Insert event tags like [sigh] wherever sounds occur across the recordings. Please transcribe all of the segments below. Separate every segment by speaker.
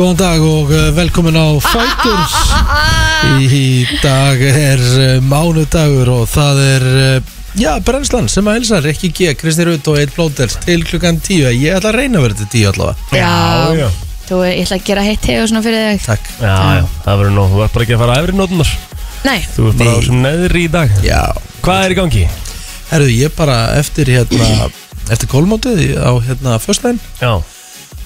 Speaker 1: Góðan dag og eh, velkomin á Fighters Í dag er eh, mánudagur og það er eh, Já, brennslan sem að hilsa Rikki G, Kristi Rutt og Eitt Blóter til klukkan 10 Ég ætla að reyna að vera til 10 allavega
Speaker 2: Já,
Speaker 3: já.
Speaker 2: Þú, ég ætla að gera heitt teg og svona fyrir þig
Speaker 1: Takk
Speaker 3: Já, já, það verður nóg, þú ert bara ekki að fara að efri nótunar
Speaker 2: Nei,
Speaker 3: Þú ert bara
Speaker 1: Nei.
Speaker 3: á sem neðri í dag
Speaker 1: Já,
Speaker 3: Hvað er í gangi?
Speaker 1: herruðu, ég bara eftir hérna Eftir kólmótið í- á hérna Föstæn
Speaker 3: Já,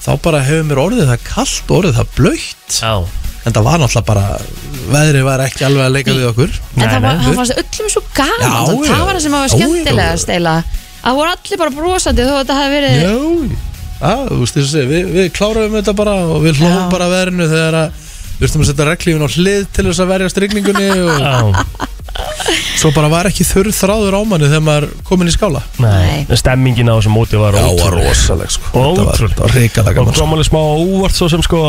Speaker 1: Þá bara hefur mér orðið það kallt, orðið það blöytt
Speaker 3: já
Speaker 1: En það var náttúrulega bara Veðrið var ekki alveg að leika við okkur
Speaker 2: en
Speaker 3: Nei,
Speaker 2: það,
Speaker 3: nei.
Speaker 2: var, það fannst öllum svo gaman
Speaker 1: Já,
Speaker 2: það,
Speaker 1: já.
Speaker 2: það var það sem var
Speaker 1: Já, já.
Speaker 2: skemmtilega að stela Það voru allir bara brosandi þó að þetta hafi verið
Speaker 1: Já, að, þú veist þess að segja, við, við kláraðum þetta bara og við
Speaker 2: Já.
Speaker 1: hlóðum bara að verðinu þegar að við þurftum að setja reglífin á hlið til þess að verja
Speaker 2: [laughs]
Speaker 1: strykningunni og
Speaker 3: Já,
Speaker 1: svo bara var ekki þurr þráður á manni þegar maður kom inn í skála
Speaker 3: nei, stemmingin á þessum móti var ótrúleg.
Speaker 1: rosaleg sko Það
Speaker 3: Ótrúleg.
Speaker 1: var, það var reikað að
Speaker 3: Og
Speaker 1: gaman sko
Speaker 3: kom alveg smá óvart svo sem sko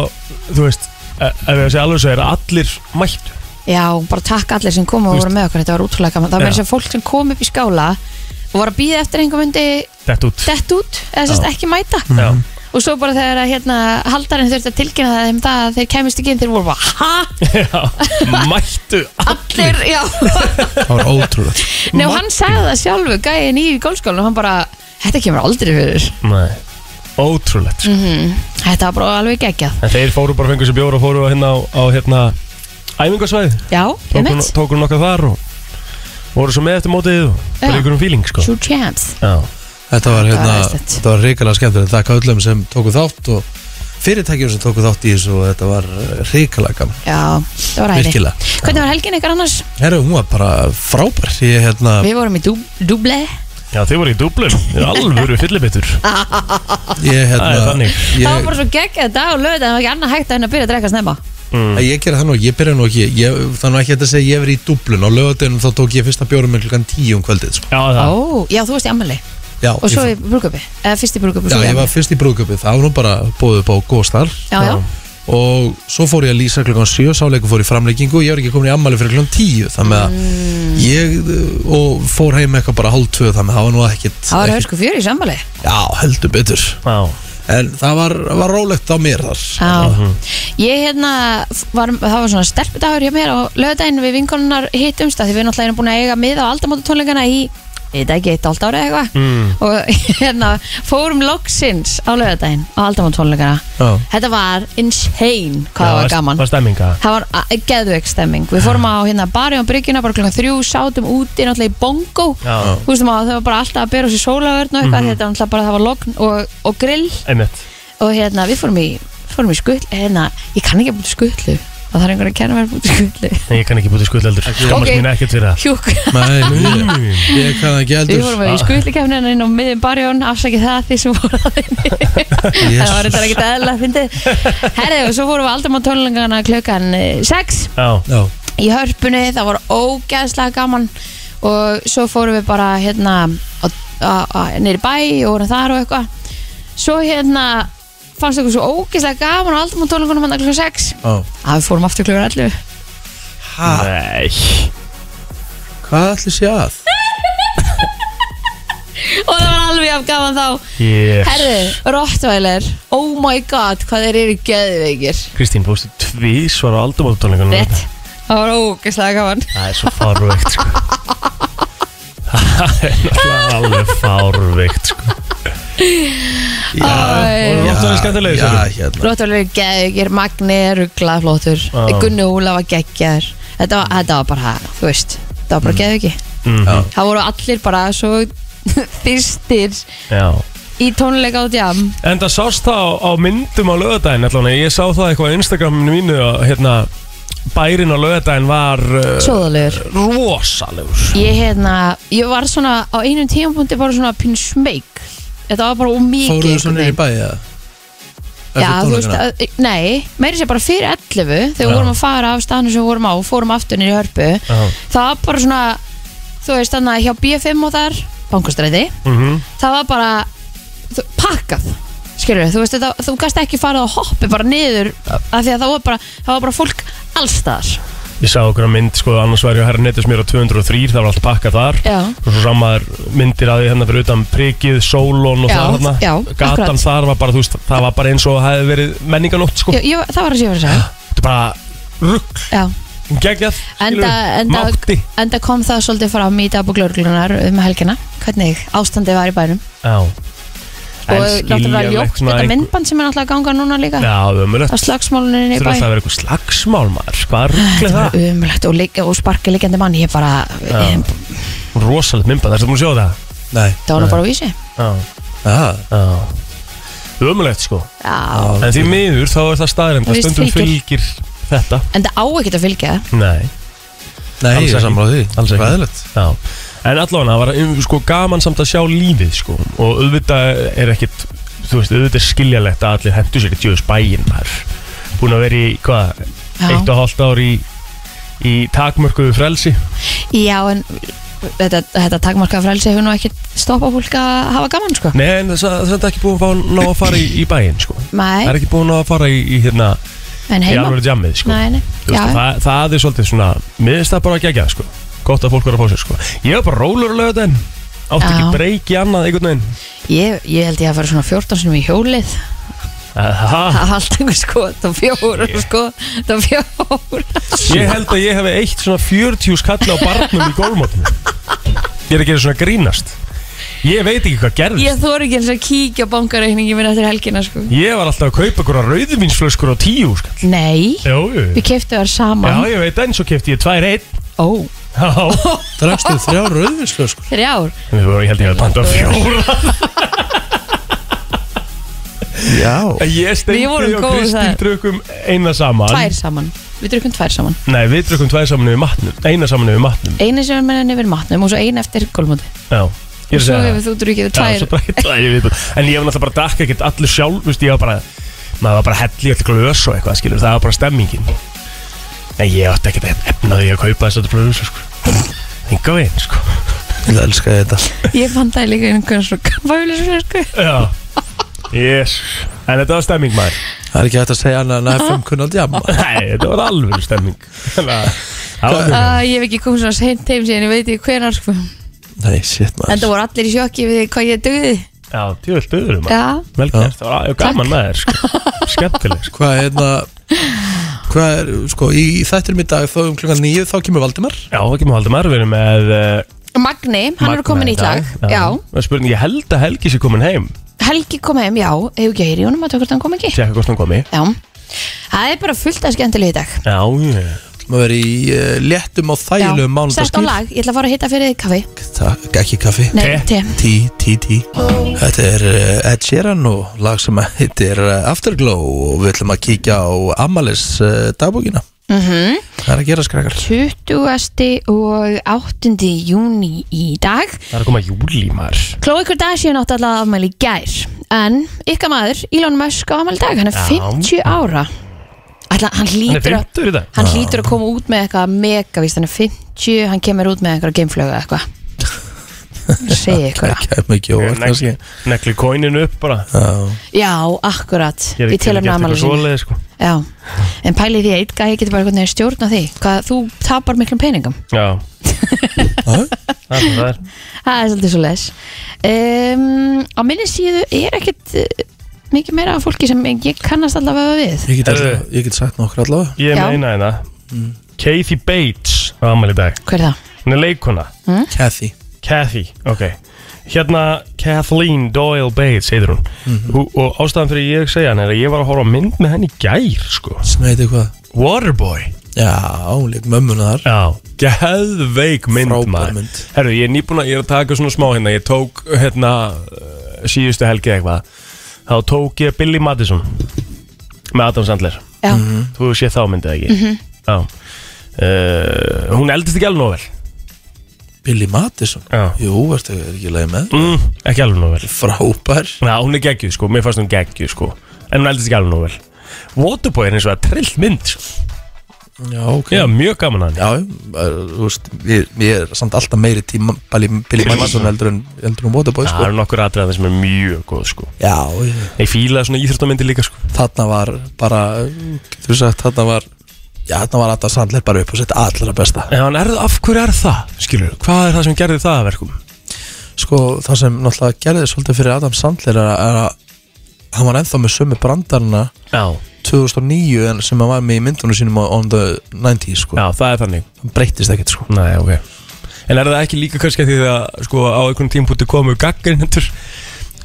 Speaker 3: Þú veist, e- ef ég að segja alveg svo er allir mætt
Speaker 2: Já, bara takk allir sem kom og
Speaker 3: Þú
Speaker 2: voru með okkur, þetta var útrúlega gaman Það var
Speaker 3: Já.
Speaker 2: eins og fólk sem kom upp í skála og var að býða eftir einhver myndi
Speaker 3: Þetta út
Speaker 2: dett út eða sérst ekki mæta
Speaker 3: Já,
Speaker 2: og svo bara þegar að hérna haldarinn þurfti að tilkynna það þeim það að þeir kemist ekki inn þeir voru bara, ha?
Speaker 3: [laughs] já, mættu
Speaker 2: Allir, já
Speaker 3: [laughs]
Speaker 1: Það var ótrúlega
Speaker 2: Nei og hann sagði það sjálfu, gæðin í gólskólanum hann bara, þetta kemur aldrei fyrir
Speaker 3: Nei, ótrúlegt sko.
Speaker 2: Þetta var bara alveg geggjað
Speaker 3: En þeir fóru bara fengur sér bjóra og fóru hérna á, á hérna Æfingasvæði
Speaker 2: Já,
Speaker 3: Tókur,
Speaker 2: einmitt,
Speaker 3: tókur nokkað þar og voru svo með eftir mótið og
Speaker 2: Já.
Speaker 3: bara ykkur um fíling sko
Speaker 2: two champs
Speaker 3: Já,
Speaker 1: Þetta var,
Speaker 2: var
Speaker 1: hérna,
Speaker 2: æðislegt.
Speaker 1: þetta var reikalega skemmtilegt Takk öllum sem tóku þátt og fyrirtækjum sem tóku þátt í þessu og þetta var reikalega gaman
Speaker 2: Já, það var æði
Speaker 1: Virkilega.
Speaker 2: Hvernig var helgin ykkar annars?
Speaker 1: Herru, hún var bara frábær Ég hérna,
Speaker 2: Við vorum í duble
Speaker 3: já þeir voru
Speaker 2: [laughs]
Speaker 3: í dublum Þeir eru alvöru fyllibittur
Speaker 2: Ah.
Speaker 1: ég, hérna
Speaker 3: Það er þannig.
Speaker 2: Það
Speaker 1: ég,
Speaker 2: var bara svo geggjað dag og lögð það var ekki annað hægt en að byrja að drekka snemma Mm.
Speaker 1: Að Ég gera það nú, ég byrja nú ekki ég, Þannig ekki hægt að segja ég verið í dublun Á lögatunum þá tók ég fyrsta bjórum með klukkan tíu um kvöldið sko.
Speaker 3: Já, það
Speaker 2: Ó, já, þú varst í ammali
Speaker 1: já,
Speaker 2: og svo í
Speaker 1: ég,
Speaker 2: brúköpi, eða fyrst í brúköpi
Speaker 1: já, ég var fyrst í brúðköpi Það var nú bara bóðið upp á góðstar
Speaker 2: já, já,
Speaker 1: Og svo fór ég að lýsa klukkan sjö Sáleikur fór í framleikingu Ég var ekki komin í ammali fyrir klukkan tíu Þannig að
Speaker 2: Mm.
Speaker 1: ég uh, og fór heim eitthvað bara hálf tvö Þannig að það var nú ekkit,
Speaker 2: það var
Speaker 1: ekkit
Speaker 2: hörsku fjör í sammali
Speaker 1: Já, heldur betur
Speaker 3: Já,
Speaker 1: En það var, var rólegt á mér þar
Speaker 2: Já,
Speaker 3: hm.
Speaker 2: ég hérna f- var, það var svona stelpudagur hjá mér og lögðaginn við vinkonunnar hittumst af því við náttúrulega erum búin að eiga miða á aldamótatónleikana í ég veit ekki, eitt áld ára eða eitthvað
Speaker 3: Mm.
Speaker 2: og [laughs] hérna fórum loksins á lögðaginn á aldamótatónleikana
Speaker 1: Já.
Speaker 2: þetta var insane hvað
Speaker 3: Já,
Speaker 2: það var
Speaker 3: st-
Speaker 2: gaman
Speaker 3: Var stemminga
Speaker 2: Það var geðveik stemming Við fórum á hérna bari á bryggjuna bara klokkan þrjú sátum úti náttúrulega í bongo
Speaker 3: Já, Mhm.
Speaker 2: Þú veistum að það var bara alltaf að bera á sig sólaverðn og eitthvað þetta var náttúrulega bara það var logn og, og grill
Speaker 3: einmitt
Speaker 2: og hérna við fórum í, fórum í skull hérna, ég kann ekki að búta skutlu og það er einhver að kenna mér að búta skutlu
Speaker 3: Nei, ég kann ekki búti skull heldur Skammast
Speaker 2: Ok.
Speaker 3: mín ekkert fyrir það
Speaker 2: hjúk,
Speaker 1: Nei, ég, ég kann ekki
Speaker 2: við
Speaker 1: heldur
Speaker 2: fórum í skutlukefnina inn á miðjum barjón, afsækið það því sem voru að þinni það var þetta ekkert eðla að fyndi herri og svo fórum við aldrei á tónlingana klukkan 6
Speaker 3: Já,
Speaker 1: Já,
Speaker 2: í hörpunni, það var ógeðslega gaman og svo fórum við bara hérna nýri bæ og vorum þar og eitthvað svo hérna fannst okkur svo ógeðslega gaman á aldrei á tónlingunum hann klukkan 6
Speaker 1: já
Speaker 2: að við fórum aftur klukkan 11
Speaker 1: Ha,
Speaker 2: Ah.
Speaker 3: nei
Speaker 1: Hvað ætli sé að?
Speaker 2: og það var alveg af gaman þá
Speaker 3: Ég
Speaker 2: Herðu, Rottweiler, oh my god hvað þeir eru geðveikir
Speaker 3: Kristín fórstu tvís var á aldamóttónleikunum
Speaker 2: Rétt, það var ógeðslega gaman
Speaker 3: Það er svo fárveikt
Speaker 2: [laughs]
Speaker 3: sko. Það er náttúrulega alveg fárveikt sko.
Speaker 2: Æ.
Speaker 3: voru Rottweiler skemmtilegir,
Speaker 1: Já,
Speaker 3: sagðirðu?
Speaker 1: hérna
Speaker 2: Rottweiler eru geðveikir, Magni eru glaðflótur
Speaker 3: Já.
Speaker 2: Gunni Óla var geggjar þetta, var- þetta var bara, þú veist það var bara geðveiki
Speaker 3: Mhm.
Speaker 1: Já.
Speaker 2: það voru allir bara svo [laughs] þýstir
Speaker 3: Já
Speaker 2: í tónleika á djam
Speaker 3: En það sást það á, á myndum á lögadaginn allan, ég sá það eitthvað á Instagraminu mínu að hérna, bærin á lögadaginn var uh,
Speaker 2: svoðalegur
Speaker 3: rosalegur
Speaker 2: ég, hérna, ég var svona á einum tímapunkti bara svona pín smeyk þetta var bara ómikið
Speaker 1: Fóruðu svo niður í bæ eða?
Speaker 2: Já,
Speaker 1: Eftir
Speaker 2: þú veist,
Speaker 1: tónleikana?
Speaker 2: að, nei, meiri sér bara fyrir 11 þegar við
Speaker 3: Já.
Speaker 2: vorum að fara af staðinu sem við vorum á og fórum aftur niður í hörpu
Speaker 3: Já.
Speaker 2: það var bara svona, þú veist, þannig að hjá B5 og þar, bankastræti
Speaker 3: mm
Speaker 2: það var bara þú, pakkað, skilur þú veist, þetta, þú gast ekki farið að hoppi bara niður af því að það var bara, það var bara fólk allstaðar
Speaker 3: Ég sá okkur að mynd, sko, annars var ég að herra netis mér á 203, það var allt pakkað þar
Speaker 2: Já.
Speaker 3: og svo samar myndir að því hérna fyrir utan prikið, sólón og
Speaker 2: Já,
Speaker 3: það hérna
Speaker 2: já,
Speaker 3: gatan
Speaker 2: akkurat.
Speaker 3: þar var bara, þú veist, það var bara eins og það hefði verið menninganótt, sko
Speaker 2: Ég, ég, það var það sem ég var að segja
Speaker 3: Þetta er bara rugg,
Speaker 2: Já
Speaker 3: geggjað,
Speaker 2: Enda, enda,
Speaker 3: mátti
Speaker 2: enda kom það svolítið fram í dagbúk lauruglunar um helgina hvernig ástandið var í bænum
Speaker 3: Já En
Speaker 2: og náttúrulega
Speaker 3: skiljanlegt
Speaker 2: ljótt
Speaker 3: svona
Speaker 2: þetta
Speaker 3: einhver-
Speaker 2: myndband sem er náttúrulega að ganga núna líka
Speaker 3: Já,
Speaker 2: á
Speaker 3: ömulegt
Speaker 2: slagsmálunni í bæ
Speaker 3: Þurfa það að vera eitthvað slagsmál, maður Hvað rugglega
Speaker 2: Þetta var
Speaker 3: það?
Speaker 2: umlegt og, leik- og sparki líkjandi mann ég bara,
Speaker 3: Já.
Speaker 2: ég,
Speaker 3: Rosalegt myndbæð, það er þetta múin að sjá það?
Speaker 1: Nei
Speaker 2: það var nú bara á vísi
Speaker 3: Já,
Speaker 1: ah.
Speaker 3: já Ömulegt, sko
Speaker 2: Já,
Speaker 3: En því miður þá er það staðrind að
Speaker 2: Víst
Speaker 3: stundum
Speaker 2: fylgir.
Speaker 3: fylgir þetta
Speaker 2: en það á ekkert að fylgja það
Speaker 3: Nei,
Speaker 1: Nei, ég
Speaker 3: Alls
Speaker 1: er
Speaker 3: ekki.
Speaker 1: sammála því
Speaker 3: Alls ekki.
Speaker 1: Ræðilegt
Speaker 3: já En allavega það var um, sko gaman samt að sjá lífið sko Og auðvitað er ekkit Þú veist, auðvitað er skiljalegt að allir hendur sér í djöðus bæinn maður Búin að vera í, hvað, eitt
Speaker 2: Já,
Speaker 3: og hálft ár í Í takmörkuðu frelsi
Speaker 2: já en þetta, þetta takmarka frælsi hefur nú ekkert stoppa fólk að hafa gaman sko
Speaker 3: Nei, en það það er ekki búin að fá ná að fara í, í bæinn sko Það
Speaker 2: Nei,
Speaker 3: er ekki búin að fara í, í hérna
Speaker 2: en
Speaker 3: Í
Speaker 2: heima
Speaker 3: alveg jammið sko
Speaker 2: Nei, nei,
Speaker 3: Þú
Speaker 2: já,
Speaker 3: veist, það, það er svolítið svona Mér finnst það bara að gegja sko Gott að fólk verður að fá sér sko Ég var bara rólur að löða þenn Átti
Speaker 2: Já.
Speaker 3: ekki breyk í annað einhvern veginn
Speaker 2: ég, ég held ég að fara svona 14 sinum í hjólið
Speaker 3: Aha.
Speaker 2: Það haldi einhver sko, það fjóra sko, það fjóra
Speaker 3: Ég held að ég hef eitt svona 40 skalli á barnum í gólmótinu Ég er að gera svona grínast Ég veit ekki hvað gerðist
Speaker 2: Ég þóri ekki eins að kíkja á bankareikningi minn eftir helgina sko
Speaker 3: Ég var alltaf að kaupa einhverja rauðvinsflöskur á tíu skall
Speaker 2: Nei,
Speaker 3: Jú, jú
Speaker 2: við keftum þar
Speaker 3: Já,
Speaker 2: saman
Speaker 3: ég veit en svo kefti ég tvær einn
Speaker 2: Ó,
Speaker 3: [laughs] Já,
Speaker 1: Drakstu sko. þrjá rauðvinslöskur
Speaker 2: þrjár
Speaker 3: ég held ég að panta fjóra
Speaker 1: Já
Speaker 3: Ég
Speaker 2: Við vorum
Speaker 3: steindi og
Speaker 2: góð
Speaker 3: Kristín
Speaker 2: þar.
Speaker 3: drukum eina saman
Speaker 2: Tvær saman, við drukum tvær saman
Speaker 3: Nei, við drukum tvær saman yfir matnum Eina saman yfir matnum
Speaker 2: Einu sem er með henni yfir matnum og svo einu eftir gólmóti
Speaker 3: Já, ég er
Speaker 2: Og svo
Speaker 3: að segja það.
Speaker 2: hefur þú drukkið
Speaker 3: Já,
Speaker 2: tvær
Speaker 3: svo bara- [laughs] tvær í viðbót. En ég var náttúrulega bara að dakka ekkert allir sjálf veist, Ég var bara Maður var bara að hella í allir glös og eitthvað skilur Það var bara stemmingin En ég átti ekkert efnaði að kaupa þess að glös sko. Enga veginn sko
Speaker 1: Ég elska þetta
Speaker 2: Ég fann það líka einhvern svona kampavílisur sko
Speaker 3: Já Yes En þetta var stemming maður [laughs]
Speaker 1: Það er ekki hægt að segja annað en að FM kunni aldrei jamma
Speaker 3: Nei, þetta var alveg stemming [laughs] Þannig að- Það var mjög
Speaker 2: Æ, Ég hef ekki komið svona seint heim síðan, ég veit ekki hvenar sko
Speaker 1: Nei, shit
Speaker 2: En
Speaker 1: maður
Speaker 2: það voru allir í sjokki við hvað ég dugði
Speaker 3: Já, tjóðvilt öðrum maður
Speaker 2: Já,
Speaker 3: Vel gert, það var alveg gaman með þér sko Skemmtileg sko
Speaker 1: Hvað er hérna Hvað er, sko, í þættinum í dag þá um klukkan nýju þá kemur Valdimar
Speaker 3: Já, það kemur haldið maður, við erum með uh,
Speaker 2: Magni, hann er komin í lag Já,
Speaker 3: Það er spurning, ég held að Helgi sé komin heim
Speaker 2: Helgi kom heim, já, hefur ekki að heyri honum að tökur hann kom ekki
Speaker 3: Tjekka hvort hann komi
Speaker 2: Já, það er bara fullt að skemmtilega í dag
Speaker 3: Já, ég
Speaker 1: Maður verið í uh, léttum og þægilegum
Speaker 2: sett á
Speaker 1: mánudagskýr
Speaker 2: lag, ég ætla að fara að hitta fyrir þig kaffi
Speaker 1: Takk, ekki kaffi
Speaker 2: Nei,
Speaker 3: Te.
Speaker 2: te,
Speaker 1: Tí, tí, tí Þetta er eh, Ed Sheeran og lag sem heitir eh, Afterglow og við ætlum að kíkja á Amalis uh, dagbókina
Speaker 2: Mhm.
Speaker 1: Það er að gera skrækar
Speaker 2: 20. og 8. júni í dag
Speaker 3: Það er að koma júli maður
Speaker 2: Chloe Kardashian átti alltaf afmæli í gær En ykkar maður, Elon Musk á afmæli í dag, hann er
Speaker 3: Já.
Speaker 2: 50 ára Ætla, hann
Speaker 3: Hann er
Speaker 2: hlýtur að
Speaker 3: 50 í dag
Speaker 2: Hann hlýtur að koma út með eitthvað mega víst, hann er 50, hann kemur út með einhverja geimflögu eða eitthvað
Speaker 3: [laughs]
Speaker 2: Segir eitthvað
Speaker 1: Kæm ekki óvart kannski
Speaker 3: Negli- Negli kóinin upp bara
Speaker 1: Já.
Speaker 2: Já, akkurat,
Speaker 3: Ég er
Speaker 2: í
Speaker 3: ekki
Speaker 2: tilhæmna
Speaker 3: gert
Speaker 2: afmæli
Speaker 3: eitthvað
Speaker 2: sín
Speaker 3: svoleiði sko
Speaker 2: Já, en pælið því að eitt gæði getur bara einhvern veginn stjórna því Hvað, þú tapar miklum peningum
Speaker 3: Já
Speaker 1: Já.
Speaker 3: Það er það er
Speaker 2: Það er svolítið svo les Á minni síðu er ekkit eh, mikið meira af fólki sem ég kannast allavega við
Speaker 1: Ég get,
Speaker 3: Herðu.
Speaker 1: allavega- ég get sagt nokkur allavega
Speaker 3: Ég
Speaker 2: Já.
Speaker 3: meina hérna Kathy Bates á afmæli í dag
Speaker 2: Hver er það?
Speaker 3: Hún er leikona
Speaker 2: Hm?
Speaker 1: Kathy
Speaker 3: Kathy, ok Hérna Kathleen Doyle Bates heitir hún og, og ástæðan fyrir ég segja hann er að ég var að horfa á mynd með henni í gær sko
Speaker 1: sem heitir hvað?
Speaker 3: Waterboy
Speaker 1: Já, hún leik mömmuna þar
Speaker 3: Já, geðveik mynd
Speaker 1: Frábær
Speaker 3: maður.
Speaker 1: mynd.
Speaker 3: Herru, ég er nýbúin að, ég er að taka svona smá hérna Ég tók hérna eh, síðustu helgi eitthvað Þá tók ég Billy Madison Með Adam Sandler
Speaker 2: Já,
Speaker 3: Þú sé þá myndið ekki Já uh, Hún eldist ekki alveg nóg vel
Speaker 1: Billy Madison
Speaker 3: Já.
Speaker 1: Jú, ertu ekki leið með
Speaker 3: mm, Ekki alveg nóg vel
Speaker 1: Frábær
Speaker 3: Já, hún er geggjuð sko, mér fannst hún geggjuð sko En hún eldist ekki alveg nóg vel Waterboy er eins og að trillt mynd sko.
Speaker 1: Já, ok
Speaker 3: Já, mjög gaman að hann
Speaker 1: Já, eh, þú veist, ég, ég er samt alltaf meiri tíma Billy, Billy Madison heldur en heldur en Waterboy
Speaker 3: Það
Speaker 1: sko.
Speaker 3: eru nokkur atriðan sem er mjög góð sko
Speaker 1: Já, ég,
Speaker 3: Ég fílaði svona íþjóttamyndi líka sko
Speaker 1: þarna var bara eh, Þú veist að þarna var já, þarna var Adam Sandler bara upp og sett allra besta
Speaker 3: En hann er, af hverju er það, skilur Hvað er það sem gerði það að verkum?
Speaker 1: sko, það sem náttúrulega gerði svolítið fyrir Adam Sandler er að, er að hann var ennþá með sömu brandarna
Speaker 3: Já,
Speaker 1: 2009 en sem hann var með í myndunum sínum á- on the 90s sko,
Speaker 3: já það er þannig
Speaker 1: hann breytist ekkert sko
Speaker 3: Nei, ok En er það ekki líka kannski að því að sko, á einhvern tímpúti komu gaggrinendur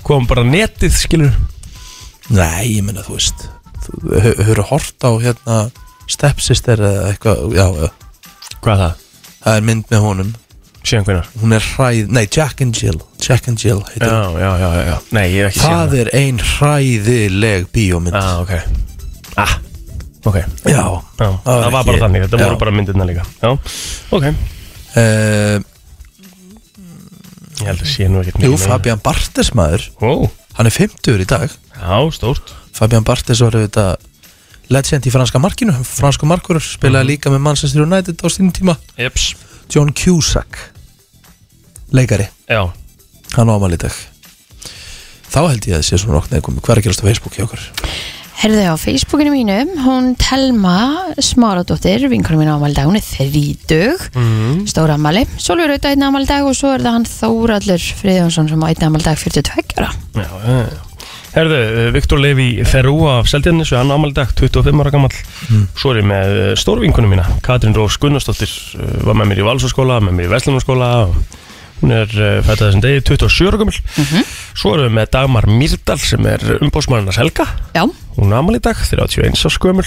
Speaker 3: kom bara netið, skilur
Speaker 1: nei, ég meina, þú veist þú hefur hort á hérna stepsister eða eitthvað, já, já
Speaker 3: Hvað er það?
Speaker 1: það er mynd með honum
Speaker 3: Síðan hvenar?
Speaker 1: hún er hræð, nei, Jack and Jill Jack and Jill heitir hún.
Speaker 3: já, já, já, já Nei, ég er ekki síðan
Speaker 1: það er ein hræðileg bíómynd
Speaker 3: Já, ok Ah, ok
Speaker 1: já,
Speaker 3: Já, það var bara
Speaker 1: ekki-
Speaker 3: þannig, þetta
Speaker 1: já.
Speaker 3: voru bara myndirna líka Já, ok Ég
Speaker 1: Eh,
Speaker 3: held að sé nú ekkert
Speaker 1: Jú,
Speaker 3: mikið meira.
Speaker 1: Fabian Bartes maður
Speaker 3: Ó,
Speaker 1: Hann er 50 í dag
Speaker 3: já, stórt
Speaker 1: Fabian Bartes var auðvitað legend í franska markinu Fransku markur spilaði líka með Manchester United á sínum tíma
Speaker 3: Jeps
Speaker 1: John Cusack Leikari,
Speaker 3: Já,
Speaker 1: hann á ámali í dag Þá held ég að það sé svona okkur neðgum Hver er að gerast á Facebook hjá okkur?
Speaker 2: Herðu á Facebookinu mínu, hún Telma Smáradóttir, vinkunum mínu ámældag, hún er þrítug, mm. stóra ámæli. Solveig Rauta einn ámæli dag og svo er það hann Þóraldur Friðjónsson sem á einn ámæli dag 42 ára.
Speaker 3: já, já já. Herðu, eh, Viktor Levi Ferrúa af Seldjarnis við hann ámæli dag, 25 ára gammal Svo er ég með eh, stórvinkunum mína Katrin Rós Gunnarsdóttir eh, var með mér í Valsaskóla, með mér í Veslunarskóla Hún er fætað þessum degi 27 ára gammal
Speaker 2: Mhm.
Speaker 3: Svo erum við með Dagmar Myrdal sem er umbósmannarnas helga
Speaker 2: Já,
Speaker 3: Hún er ámæli í dag, 31 árs gömul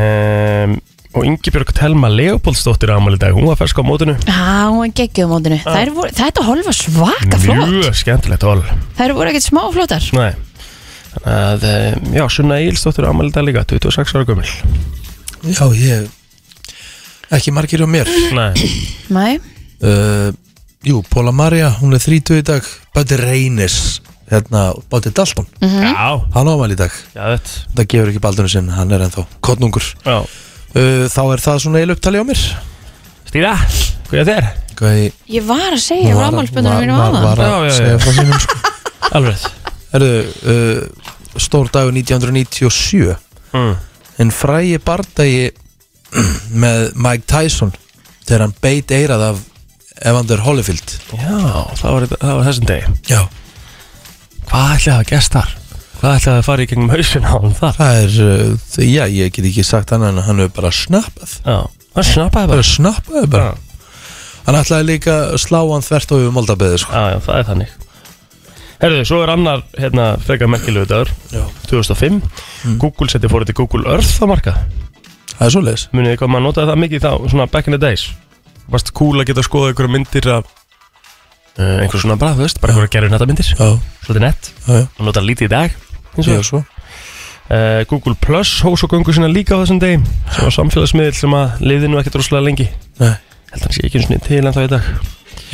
Speaker 3: um, Og Ingibjörg Telma Leopoldsdóttir er ámæli í dag Hún var fersk á mótinu
Speaker 2: Á, hún geggjum mótinu. Þær voru, þetta hólf var svaka flott.
Speaker 3: Mjög skemmtilegt hól
Speaker 2: Þær voru ekkert smá flottar.
Speaker 3: Nei Þannig að, eh, já, Sunna Egilsdóttir er ámæli í dag líka 26 ára gömul
Speaker 1: Já, ég Ekki margir á mér
Speaker 3: Nei,
Speaker 2: Nei,
Speaker 1: uh, Jú, Paula Maria, hún er 30 í dag Böti Reynis Hérna, Böti Dalton
Speaker 3: Mm. já,
Speaker 1: Hann á ámali í dag
Speaker 3: já þetta
Speaker 1: Það gefur ekki baldunum sinn, hann er ennþá Kottnungur
Speaker 3: Já,
Speaker 1: uh, Þá er það svona eiginlega upptalið á mér
Speaker 3: stýra, hvað er þér?
Speaker 1: Hvað ég
Speaker 2: ég var að segja frá ámælspöndunum mínu á það.
Speaker 1: Var
Speaker 3: Já,
Speaker 1: að
Speaker 3: já, já.
Speaker 1: segja frá sínum sko. [laughs]
Speaker 3: Alveg
Speaker 1: Herðu, uh, stór dagur 1997
Speaker 3: mm.
Speaker 1: En frægi bardagi [clears throat] með Mike Tyson þegar hann beit eirað af Evander Holyfield
Speaker 3: Já, það var, þetta- það var þessum degi
Speaker 1: Já,
Speaker 3: Hvað ætlaði að gesta þar? Hvað ætlaði að fara í gegnum hausinn á hann þar?
Speaker 1: það er uh, þ- já, ég get ekki sagt annað en að hann hefur bara snappað
Speaker 3: Já, hann snappaði bara
Speaker 1: bara snappaði bara
Speaker 3: Já.
Speaker 1: Hann ætlaði líka að slá hann þvert og yfir moldabeði sko.
Speaker 3: Já, já, það er þannig Herðu, svo er annar, hérna, frekar merkilegu dagur
Speaker 1: Já.
Speaker 3: 2005 Google seti fórið til Google Earth á marka
Speaker 1: Það er svoleiðis
Speaker 3: Munið þið hvað maður notaði það mikið þá, svona back in the days Varst cool að geta skoða einhverja myndir af uh, einhver svona bara, þú veist, bara einhverja gerður netta myndir
Speaker 1: Já,
Speaker 3: Svolítið nett,
Speaker 1: já, já,
Speaker 3: og notaði lítið í dag eins
Speaker 1: já,
Speaker 3: og
Speaker 1: svo
Speaker 3: uh, Google Plus hós og göngu sinna líka á þessum degi sem var samfélagsmiðl sem að liði nú ekkert rosalega lengi
Speaker 1: Nei,
Speaker 3: Held hann sé ekki einu sinni til en þá í dag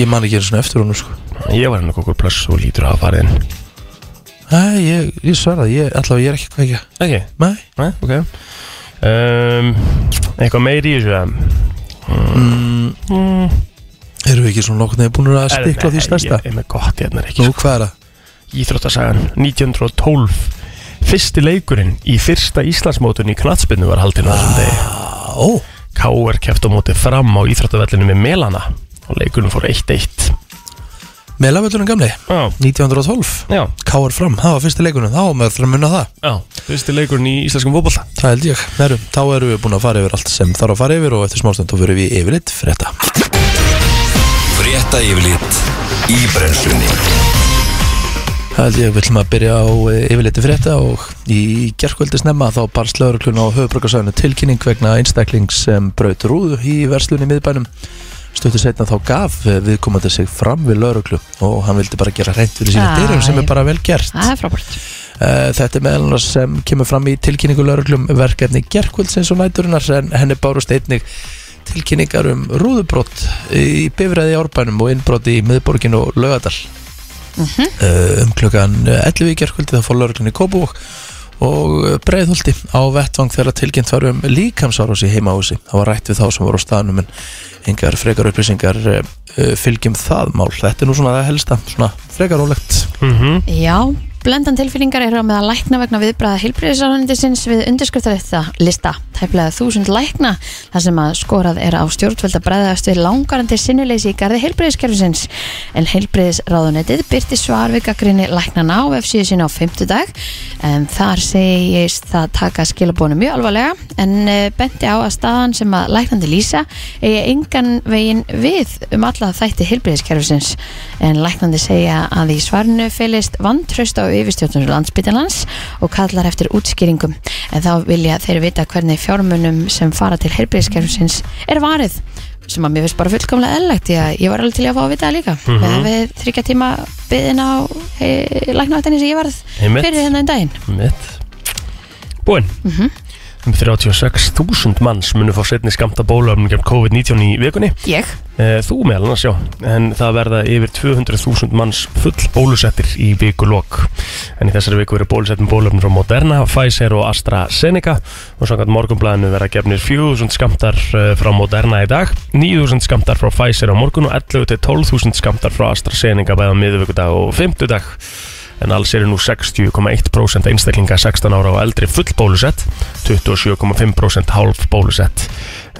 Speaker 1: Ég man ekki einu svona eftir honum sko.
Speaker 3: Ég var hann á Google Plus og lítur að hafa farið inn
Speaker 1: Nei, ég, ég sverða, ég, allavega ég er ekki hvað ekki
Speaker 3: Ekki?
Speaker 1: Nei,
Speaker 3: Nei, ok um, Eitthvað meiri í þessu eða? mm,
Speaker 1: erum við ekki svona nokkuð nefn búin að
Speaker 3: er-
Speaker 1: stikla á því
Speaker 3: nei,
Speaker 1: stærsta
Speaker 3: Ég ég er með gott hérna
Speaker 1: Nú,
Speaker 3: ekki sko.
Speaker 1: hvað er það?
Speaker 3: Íþróttasagan 1912 Fyrsti leikurinn í fyrsta Íslandsmótun í knatsbyrnu var haldin á þessum degi
Speaker 1: Ó,
Speaker 3: K.R. keft á móti fram á Íþróttavellinu með Melana og leikurinn fór 1-1
Speaker 1: Melavöllunum gamli,
Speaker 3: Já,
Speaker 1: 1912
Speaker 3: já,
Speaker 1: Káar fram, það var fyrsti leikunum, þá var maður þurfa að munna það
Speaker 3: já Fyrsti leikurinn í íslenskum fótbolta
Speaker 1: Það held ég, Heru, þá erum við búin að fara yfir allt sem þarf að fara yfir og eftir smástund þá fyrir við yfir eitt frétta
Speaker 4: Frétta yfirlit í brennslunni
Speaker 1: Það held ég, við ætlum að byrja á eh, yfirleiti frétta og í gerkvöldi snemma þá barst lögurklun á höfubrökkarsæðinu tilkynning vegna einstaklings sem braut rúðu í verslunni í miðbænum Stuttu setna þá gaf viðkomandi sig fram við lögurklu og hann vildi bara gera hreint fyrir sína
Speaker 2: Æ.
Speaker 1: dyrum sem er bara vel gert
Speaker 2: Það er frábært.
Speaker 1: Eh, Þetta er meðal annars sem kemur fram í tilkynningu lauruglum verkefni gerkvöldsins og næturinnar en henni bárust einnig tilkynningar um rúðubrott í bifræði árbænum og innbrott í miðborgin og laugadal Eh, um klukkan eh, 11 í gerkvöldi þá fór lauruglunni Kópavók og breiðhólti á vettvang þegar tilkynnt var um líkamsárás í heimahúsi það var rætt við þá sem voru á staðnum en engar frekar upplýsingar eh, eh, fylgjum það mál þetta er nú svona það helsta, svona frekar ólegt
Speaker 3: mm -hmm.
Speaker 2: Já, blendan tilfinningar eru á meðal lækna vegna viðbræða heilbriðisarhundisins við undirskriftarlista lista. tæplega þúsund lækna þar sem að skorað er á stjórnvöld að bregðast við langarandi sinnuleysi í garði heilbreyðiskerfisins en heilbreyðisráðunetið byrti svar við gaggrinni læknana á F7 sinna á fimmtudag en þar segist það taka skilabónu mjög alvarlega en eh, benti á að staðan sem að læknandi lýsa eigi engan vegin við um alla þætti heilbreyðiskerfisins en læknandi segja að í svarinu fylist vantraust á yfirstjórnum landsbytjarlans og kallar eftir útskýringum en þá vilja þeir vita hvernig fjármunum sem fara til heilbreyðiskerfisins er varið sem að mér finnst bara fullkomlega eðlægt því að ég var alveg til í að fá að vita það líka mm -hmm. við þryggja tíma byðin á e, læknavættinni sem ég varð
Speaker 3: Einmitt.
Speaker 2: fyrir hérna. hennan daginn Mhm.
Speaker 3: Mitt Búinn Um 36.000 manns munu fá setni skamta bóluöfnum gegn COVID-19 í vikunni
Speaker 2: ég,
Speaker 3: Eh, Þú meðal annars, já En það verða yfir 200.000 manns full bólusettir í vikulok En í þessari viku eru bólusettin bólöfnum frá Moderna, Pfizer og AstraZeneca Og samkvæmt morgunblæðinu verða gefnir 4.000 skamtar eh, frá Moderna í dag 9.000 skamtar frá Pfizer á morgun og 11.000-12.000 skamtar frá AstraZeneca bæða miðvikudag og fimmtudag en alls eru nú 60,1% einstaklinga 16 ára og eldri full bólusett 27,5% hálf bólusett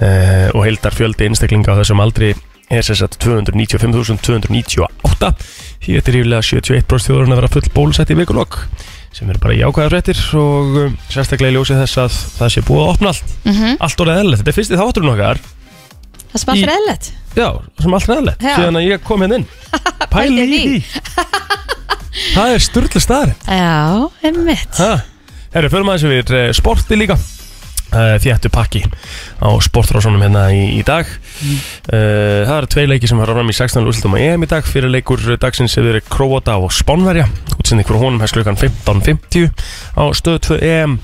Speaker 3: uh, og heildar fjöldi einstaklinga á þessum aldri er sér sett 295.298 hér er yfirlega 71% þjóðurinn að vera full bólusett í vikulokk sem eru bara jákvæðar fréttir og um, sérstaklega í ljósi þess að það sé búið að opna allt
Speaker 2: Mhm.
Speaker 3: allt orðið eðlilegt, þetta er fyrsti þátturinn okkar
Speaker 2: það sem alltaf
Speaker 3: Í-
Speaker 2: er eðlægt
Speaker 3: já, sem allt er eðlilegt,
Speaker 2: Já.
Speaker 3: síðan að ég kom hérna inn pæli í því það er styrla staðar
Speaker 2: já, einmitt
Speaker 3: Ha, Herru, förum aðeins yfir eh, sporti líka Eh, Þéttu pakki á sportrásunum hérna í, í dag Eh, Það eru tvei leiki sem var fram í 16. úrslutum að EM í dag Fyrir leikur dagsins hefur verið Króata og Spánverja Útsending fyrir honum hefst klukkan 15.50 á stöð 2 EM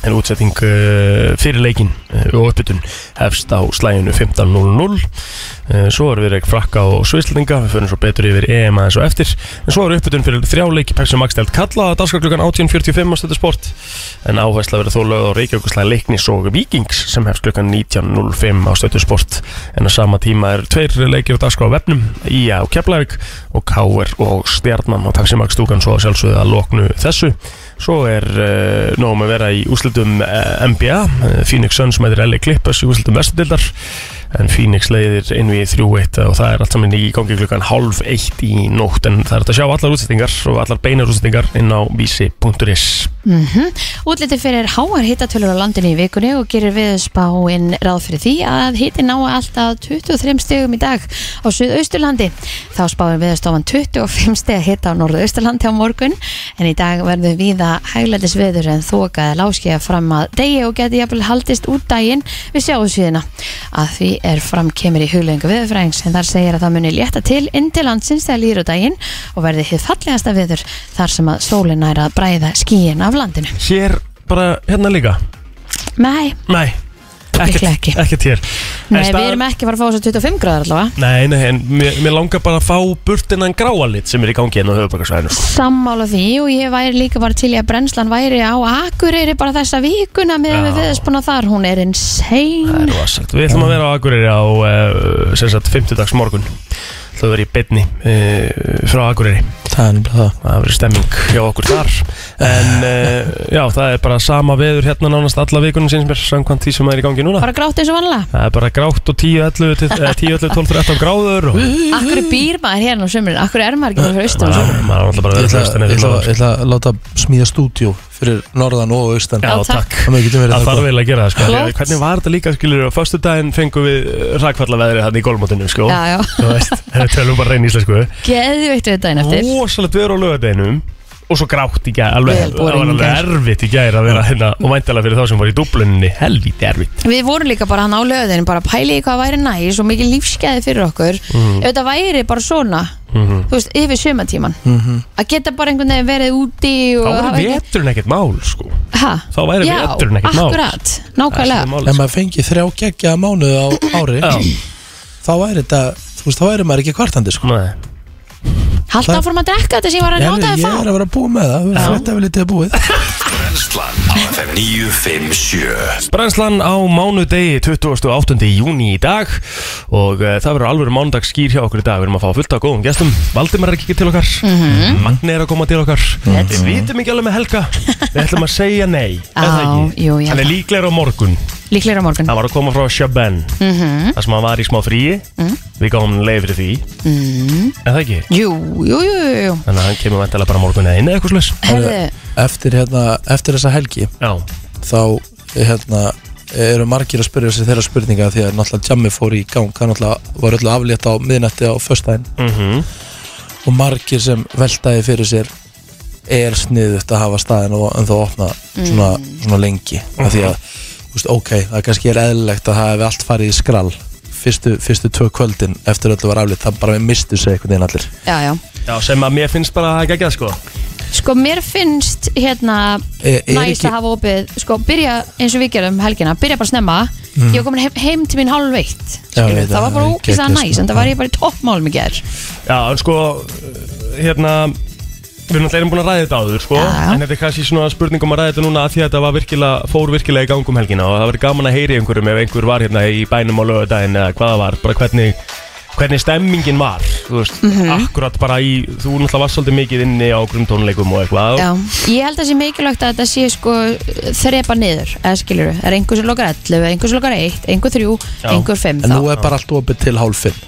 Speaker 3: En útsetting uh, fyrir leikin uh, og uppbytun hefst á slæginu 15.00 Eh, Svo eru við reik frakka og svislinga, við fyrir svo betur yfir EM aðeins og eftir En svo eru uppbytun fyrir þrjáleiki Pepsi Max delt kalla að dagskaklugan 18.45 á stöðu sport En áhersla verið þó lögð á reikjökuslega leiknis og vikings sem hefst klukkan 19.05 á stöðu sport En á sama tíma er tveir leiki á dagskrá á vefnum Ía og Keflavík og Káer og Stjarnan og Pepsi Max stúkan svo að sjálfsögðu að loknu þessu Svo er uh, nógum að vera í úslitum uh, NBA Eh, Phoenix Suns mætir LA Clippers í úslitum vestudildar en Phoenix leiðir inn við 3-1 eh, og það er allt saman í gangi klukkan halv 1 í nótt en það er hægt að sjá allar útsettingar og allar beinar útsettingar inn á vísi.is
Speaker 2: Mm Útliti fyrir háar hitatölur á landinu í vikunni og gerir viðspáinn ráð fyrir því að hitin ná alltaf 23 stegum í dag á Suðausturlandi. Þá spáir viðstofan 25 steg hita á Norðausturlandi á morgun en í dag verður viða hæglætis viður en þokaði láskiða fram að degi og geti jafnvel haldist út daginn við sjáðsvíðina. Að því er fram kemur í hugleðingu viðurfræðings en þar segir að það muni létta til inn til landsins þegar líður á daginn og verði hið fallegasta viður þar sem að sólin er að bræða skíin af landinu.
Speaker 3: Hér bara hérna líka
Speaker 2: Nei,
Speaker 3: Nei,
Speaker 2: Líklega ekki.
Speaker 3: ekkert hér En
Speaker 2: nei við
Speaker 3: staðan-
Speaker 2: erum ekki að fara að fá þessu 25 gráðar allavega
Speaker 3: Nei, nei, en mér, mér langar bara að fá burtinnan gráalit sem er í gangi enn á höfubarkarsvæðinu
Speaker 2: Sammála því og ég væri líka bara til í að brennslan væri á Akureyri bara þessa vikuna meðan við
Speaker 3: Já.
Speaker 2: viðspuna þar Hún er
Speaker 3: Það
Speaker 2: insane
Speaker 3: er rosalegt. Við ætlum að vera á Akureyri á uh, sem sagt 50 dags morgun Það verður í beinni uh, frá Akureyri
Speaker 1: Það er nefnilega það
Speaker 3: það verður stemming hjá okkur þar en uh, já, það er bara sama veður hérna nánast alla vikunum sinns mér samkvæmt því sem er í gangi núna
Speaker 2: Bara grátt eins og vanlega
Speaker 3: það er bara grátt og 10, 11, til- eh, 10, 11 12, 13 gráður og
Speaker 2: Akureyri býr maður hérna á sömurinn Akureyri er maður ekki bara fyrir austan á
Speaker 3: maður
Speaker 2: sömurinn
Speaker 3: maður er alltaf bara
Speaker 1: Ég
Speaker 3: að
Speaker 1: ætla, ég
Speaker 3: vera
Speaker 1: ætla,
Speaker 3: hlustan
Speaker 1: ég ætla að láta smíða stúdjó fyrir norðan og austan
Speaker 3: já,
Speaker 2: Já, takk.
Speaker 3: takk
Speaker 1: Þannig að getum verið
Speaker 3: Það þarf
Speaker 1: gott.
Speaker 3: vel að gera það sko
Speaker 2: Flott.
Speaker 3: Hvernig var þetta líka skilur á föstu daginn fengum við rakfallaveðrið hann í golfmótinu sko
Speaker 2: Já, já,
Speaker 3: Þú veist, [laughs] þetta tölum bara reyn íslensku
Speaker 2: geðveikt við daginn eftir
Speaker 3: Rósalegt veður á lögadeginum Og svo grátt í gæð alveg,
Speaker 2: Vel
Speaker 3: Það var
Speaker 2: boring í
Speaker 3: alveg
Speaker 2: gær.
Speaker 3: erfitt í gæð að vera hérna Og væntalega fyrir þá sem var í dubluninni Helvíti erfitt
Speaker 2: Við vorum líka bara hann á löðin bara pæli í hvað væri næ, svo mikið lífskeði fyrir okkur
Speaker 3: Mhm.
Speaker 2: ef þetta væri bara svona þú veist, yfir sömatíman að geta bara einhvern veginn verið úti og
Speaker 3: Þá
Speaker 2: hafa
Speaker 3: væri
Speaker 2: ekki-
Speaker 3: veturinn ekkert mál sko
Speaker 2: Ha?
Speaker 3: Þá væri
Speaker 2: Já,
Speaker 3: veturinn ekkert mál.
Speaker 2: Akkurat,
Speaker 3: Það er
Speaker 2: nákvæmlega
Speaker 3: málið,
Speaker 1: En
Speaker 3: sko.
Speaker 1: maður fengi þrjá geggja mánuð á ári
Speaker 3: Já.
Speaker 1: Þá væri þetta Þú veist, þá væri maður ekki kvartandi sko
Speaker 3: Nei.
Speaker 2: Haldt
Speaker 1: Það-
Speaker 2: áfram að drekka þetta sem ég var að
Speaker 1: Ég
Speaker 2: njóta
Speaker 1: ég
Speaker 2: þið
Speaker 1: er
Speaker 2: fá
Speaker 1: að vera að búa með það Þetta er vel litið að búið
Speaker 4: Brennslan á FM 957
Speaker 3: Brænslan á mánudegi 28. júni í dag og uh, það verður alveg mánudags skýr hjá okkur í dag við erum að fá fullt af góðum gestum Valdimar er ekki til okkar
Speaker 2: Mhm.
Speaker 3: Magni er að koma til okkar Við vitum ekki alveg með Helga Við ætlum að segja nei er það
Speaker 2: Á,
Speaker 3: ekki?
Speaker 2: jú, ég
Speaker 3: Hann er
Speaker 2: held
Speaker 3: líklegur á morgun
Speaker 2: líklega á morgun
Speaker 3: Hann var að koma frá Sjöben
Speaker 2: mm
Speaker 3: þar sem hann var í smá fríi Við gáum hann leið fyrir því En það ekki
Speaker 2: Jú, jú, jú, jú, jú.
Speaker 3: Þannig að hann kemur vantilega bara morgun eða inn eða eitthvað slags
Speaker 2: Herðu,
Speaker 1: eftir, hérna, eftir þessa helgi
Speaker 3: Já,
Speaker 1: þá hérna, eru margir að spyrja sér þeirra spurninga því að náttúrulega Jammi fór í gang hann náttúrulega var öllu aflétt á miðnætti á föstudaginn
Speaker 3: mhm
Speaker 1: og margir sem veltaði fyrir sér er sniðut að hafa staðin og en þá opna svona,
Speaker 2: Mm.
Speaker 1: svona lengi af því að, þú veist, ok, það kannski er eðlilegt að það hefði allt farið í skrall fyrstu, fyrstu tvö kvöldin eftir öllu var aflétt, það bara við mistu sig einhvern veginn allir
Speaker 2: já, já
Speaker 3: Já, sem að mér finnst bara ekki að sko
Speaker 2: Sko, mér finnst hérna
Speaker 1: Eh, Er- er
Speaker 2: næst
Speaker 1: ekki-
Speaker 2: að hafa opið Sko, byrja eins og við gerum helgina Byrja bara snemma Ég var komin heim, heim til mín hálf veitt
Speaker 1: Mhm. Já, ég veit
Speaker 2: Það
Speaker 1: það,
Speaker 2: var bara
Speaker 1: það er sko.
Speaker 2: ógislega
Speaker 1: geggjað
Speaker 2: næst En
Speaker 1: snemma.
Speaker 2: það var ég bara í toppmálum í gerð
Speaker 3: Já, en sko, hérna Við erum náttúrulega búin að ræða þetta áður, sko
Speaker 2: Já, já.
Speaker 3: En þetta er kannski svona spurningum að ræða þetta núna af Því að þetta var virkilega, fór virkilega í gangum helgina Og það verið gaman að heyri einhverjum ef einhver var hérna í bænum á lögadaginn Eða hvað það var, bara hvernig, hvernig stemmingin var Þú veist,
Speaker 2: Mhm.
Speaker 3: akkurat bara í Þú náttúrulega var svolítið mikið inni á okkurum tónleikum og eitthvað
Speaker 2: Já, ég held að sé mikilvægt að þetta sé sko þrepa niður, eða skilur er einhver sem lokar 11, einhver sem lokar 1, einhver 3,
Speaker 3: Já.
Speaker 2: einhver 5
Speaker 1: en
Speaker 2: Mm, þá.
Speaker 1: nú er bara allt opið til hálf fimm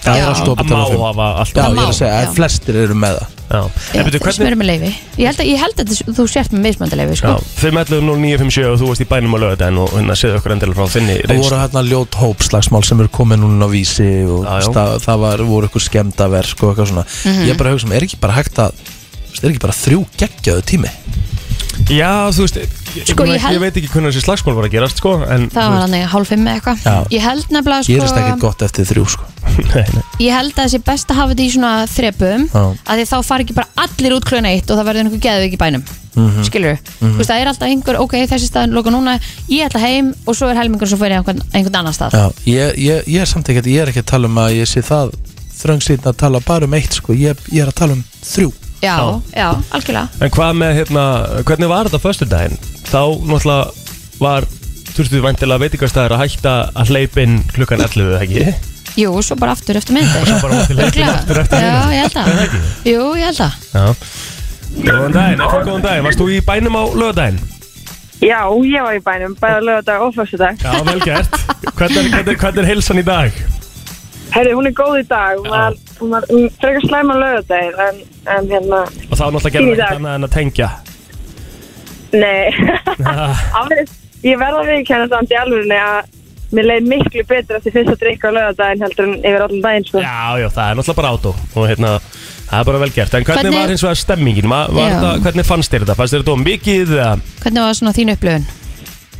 Speaker 1: það
Speaker 2: Já.
Speaker 1: er allt
Speaker 3: Að
Speaker 1: opið til
Speaker 3: má
Speaker 1: hálf fimm
Speaker 3: hafa allt
Speaker 1: já,
Speaker 2: Það
Speaker 1: ég er
Speaker 2: má,
Speaker 1: að segja,
Speaker 2: já.
Speaker 1: að flestir eru með það
Speaker 3: já. En
Speaker 2: Ég, um-
Speaker 3: betur, hvernig,
Speaker 2: smjörum með leifi ég held, að, ég held að þú sért með mismöndaleifi sko.
Speaker 3: já, 5.11.09.57 og þú varst í bænum á lögadaginn Og hérna séðu okkur endilega frá þinni
Speaker 1: Það
Speaker 3: reynslu.
Speaker 1: voru hérna ljót hópslagsmál sem eru komið núna á vísi og
Speaker 3: sko- Já, já.
Speaker 1: það, það var, voru eitthvað skemmdaverk og eitthvað svona.
Speaker 2: Mhm.
Speaker 1: Ég er bara að hugsa um, er ekki bara hægt að, þú veist, er ekki bara þrjú geggjaðu tími?
Speaker 3: Já, þú veist, ég,
Speaker 2: Sko,
Speaker 3: ég,
Speaker 2: ég held-
Speaker 3: ég veit ekki hvernig þessi slagsmál var að gerast, sko en,
Speaker 2: það var hann eða hálf 5 eða
Speaker 1: Já.
Speaker 2: eitthvað ég held nefnilega
Speaker 1: Gerist
Speaker 2: sko
Speaker 1: ekkert gott eftir þrjú, sko.
Speaker 3: [laughs] hann
Speaker 2: ég held að það sé best að hafa þetta í svona þrepum
Speaker 1: Já.
Speaker 2: að því þá far ekki bara allir út klun eitt og það verður einhver geðveik í bænum mm
Speaker 3: Mhm.
Speaker 2: -hmm. skilur, þú veist það er alltaf einhver ok, þessi staðin loka núna, ég ætla heim og svo er helmingur sem fyrir einhvern, einhvern annan stað
Speaker 1: Já, ég, ég, ég er samt ekkert, ég er ekki að tala um að ég sé það þröngsýtna að tala bara um eitt, sko. Ég, ég er að tala um þrjú.
Speaker 2: já,
Speaker 3: Já.
Speaker 2: já, algjörlega
Speaker 3: En hvað með, hérna, hvernig var þetta förstu daginn? Þá, náttúrulega, var þurftu vantilega veitingastæðar að hætta að hleypin klukkan 11, eða ekki?
Speaker 2: jú, svo bara aftur eftir myndi
Speaker 3: Svo bara vantilega hleypin aftur eftir
Speaker 2: já, ég
Speaker 3: hérna
Speaker 2: held að jú, ég held að
Speaker 3: Já Góðan daginn, eftir góðan daginn, varst þú í bænum á lögadaginn?
Speaker 5: Já, ég var í bænum, bæða lögadag og fyrstudag.
Speaker 3: Já, vel gert Hvernig er, hvernig, er- hvernig er heilsan í dag?
Speaker 5: Herri, hún er góð í dag, hún var, hún var um, frekar slæma lögadagir, en, en hérna,
Speaker 3: Og þá náttúrulega gerðum
Speaker 5: Í
Speaker 3: við
Speaker 5: dag.
Speaker 3: annað en að tengja [laughs]
Speaker 5: nei, alveg, ég verða að viðkjanna samt í alvörinni að mér leið miklu betur eftir fyrsta drikka á lögadaginn heldur en yfir allan daginn, sko.
Speaker 3: Já, já, það er náttúrulega bara átó Og hérna, það er bara vel gert En hvernig,
Speaker 2: Hvernig-
Speaker 3: var hins vegar stemmingin? Var, var
Speaker 2: Já.
Speaker 3: þetta, hvernig fannst þér þetta? Fannst þér þetta of mikið? eða?
Speaker 2: hvernig var svona þín upplöfun?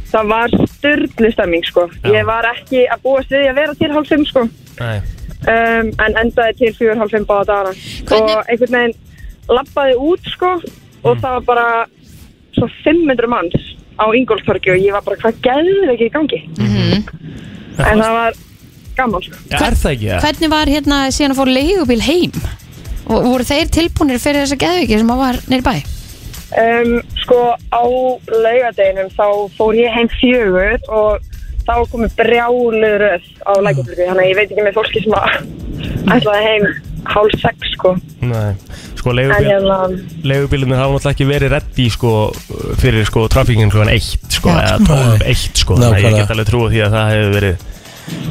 Speaker 5: Það var styrlu stemming, sko.
Speaker 3: Já.
Speaker 5: Ég var ekki að búast við því að vera til hálf fimm, sko,
Speaker 3: Nei
Speaker 5: um, en endaði til fjör hálf fimm báða dagana.
Speaker 2: Hvernig-
Speaker 5: Og einhvern veginn lappaði út, sko, og það var bara svo 500 manns á Ingolstorgi og ég var bara, hvað gerðið ekki í gangi? En það var gaman, sko.
Speaker 3: Já, er það ekki? Hver...
Speaker 2: hvernig var hérna síðan að fór leigubíl heim og voru þeir tilbúinir fyrir þessa geðviki sem að var neyri bæ
Speaker 5: Um, sko á laugadeginum þá fór ég heim fjögur og þá komið brjálu röð á lækjaflöku þannig að ég veit ekki með fólki sem að ætlaði heim hálf sex sko
Speaker 3: Nei, sko
Speaker 5: en
Speaker 3: leigubíl,
Speaker 5: hérna
Speaker 3: leigubílinir hafa náttúrulega ekki verið reddi sko, fyrir sko trafíkinn klukkan 1 sko,
Speaker 2: Já.
Speaker 3: eða 12, 1 sko, þannig að ég
Speaker 1: Nákvæmlega.
Speaker 3: get alveg trúið því að það hefur verið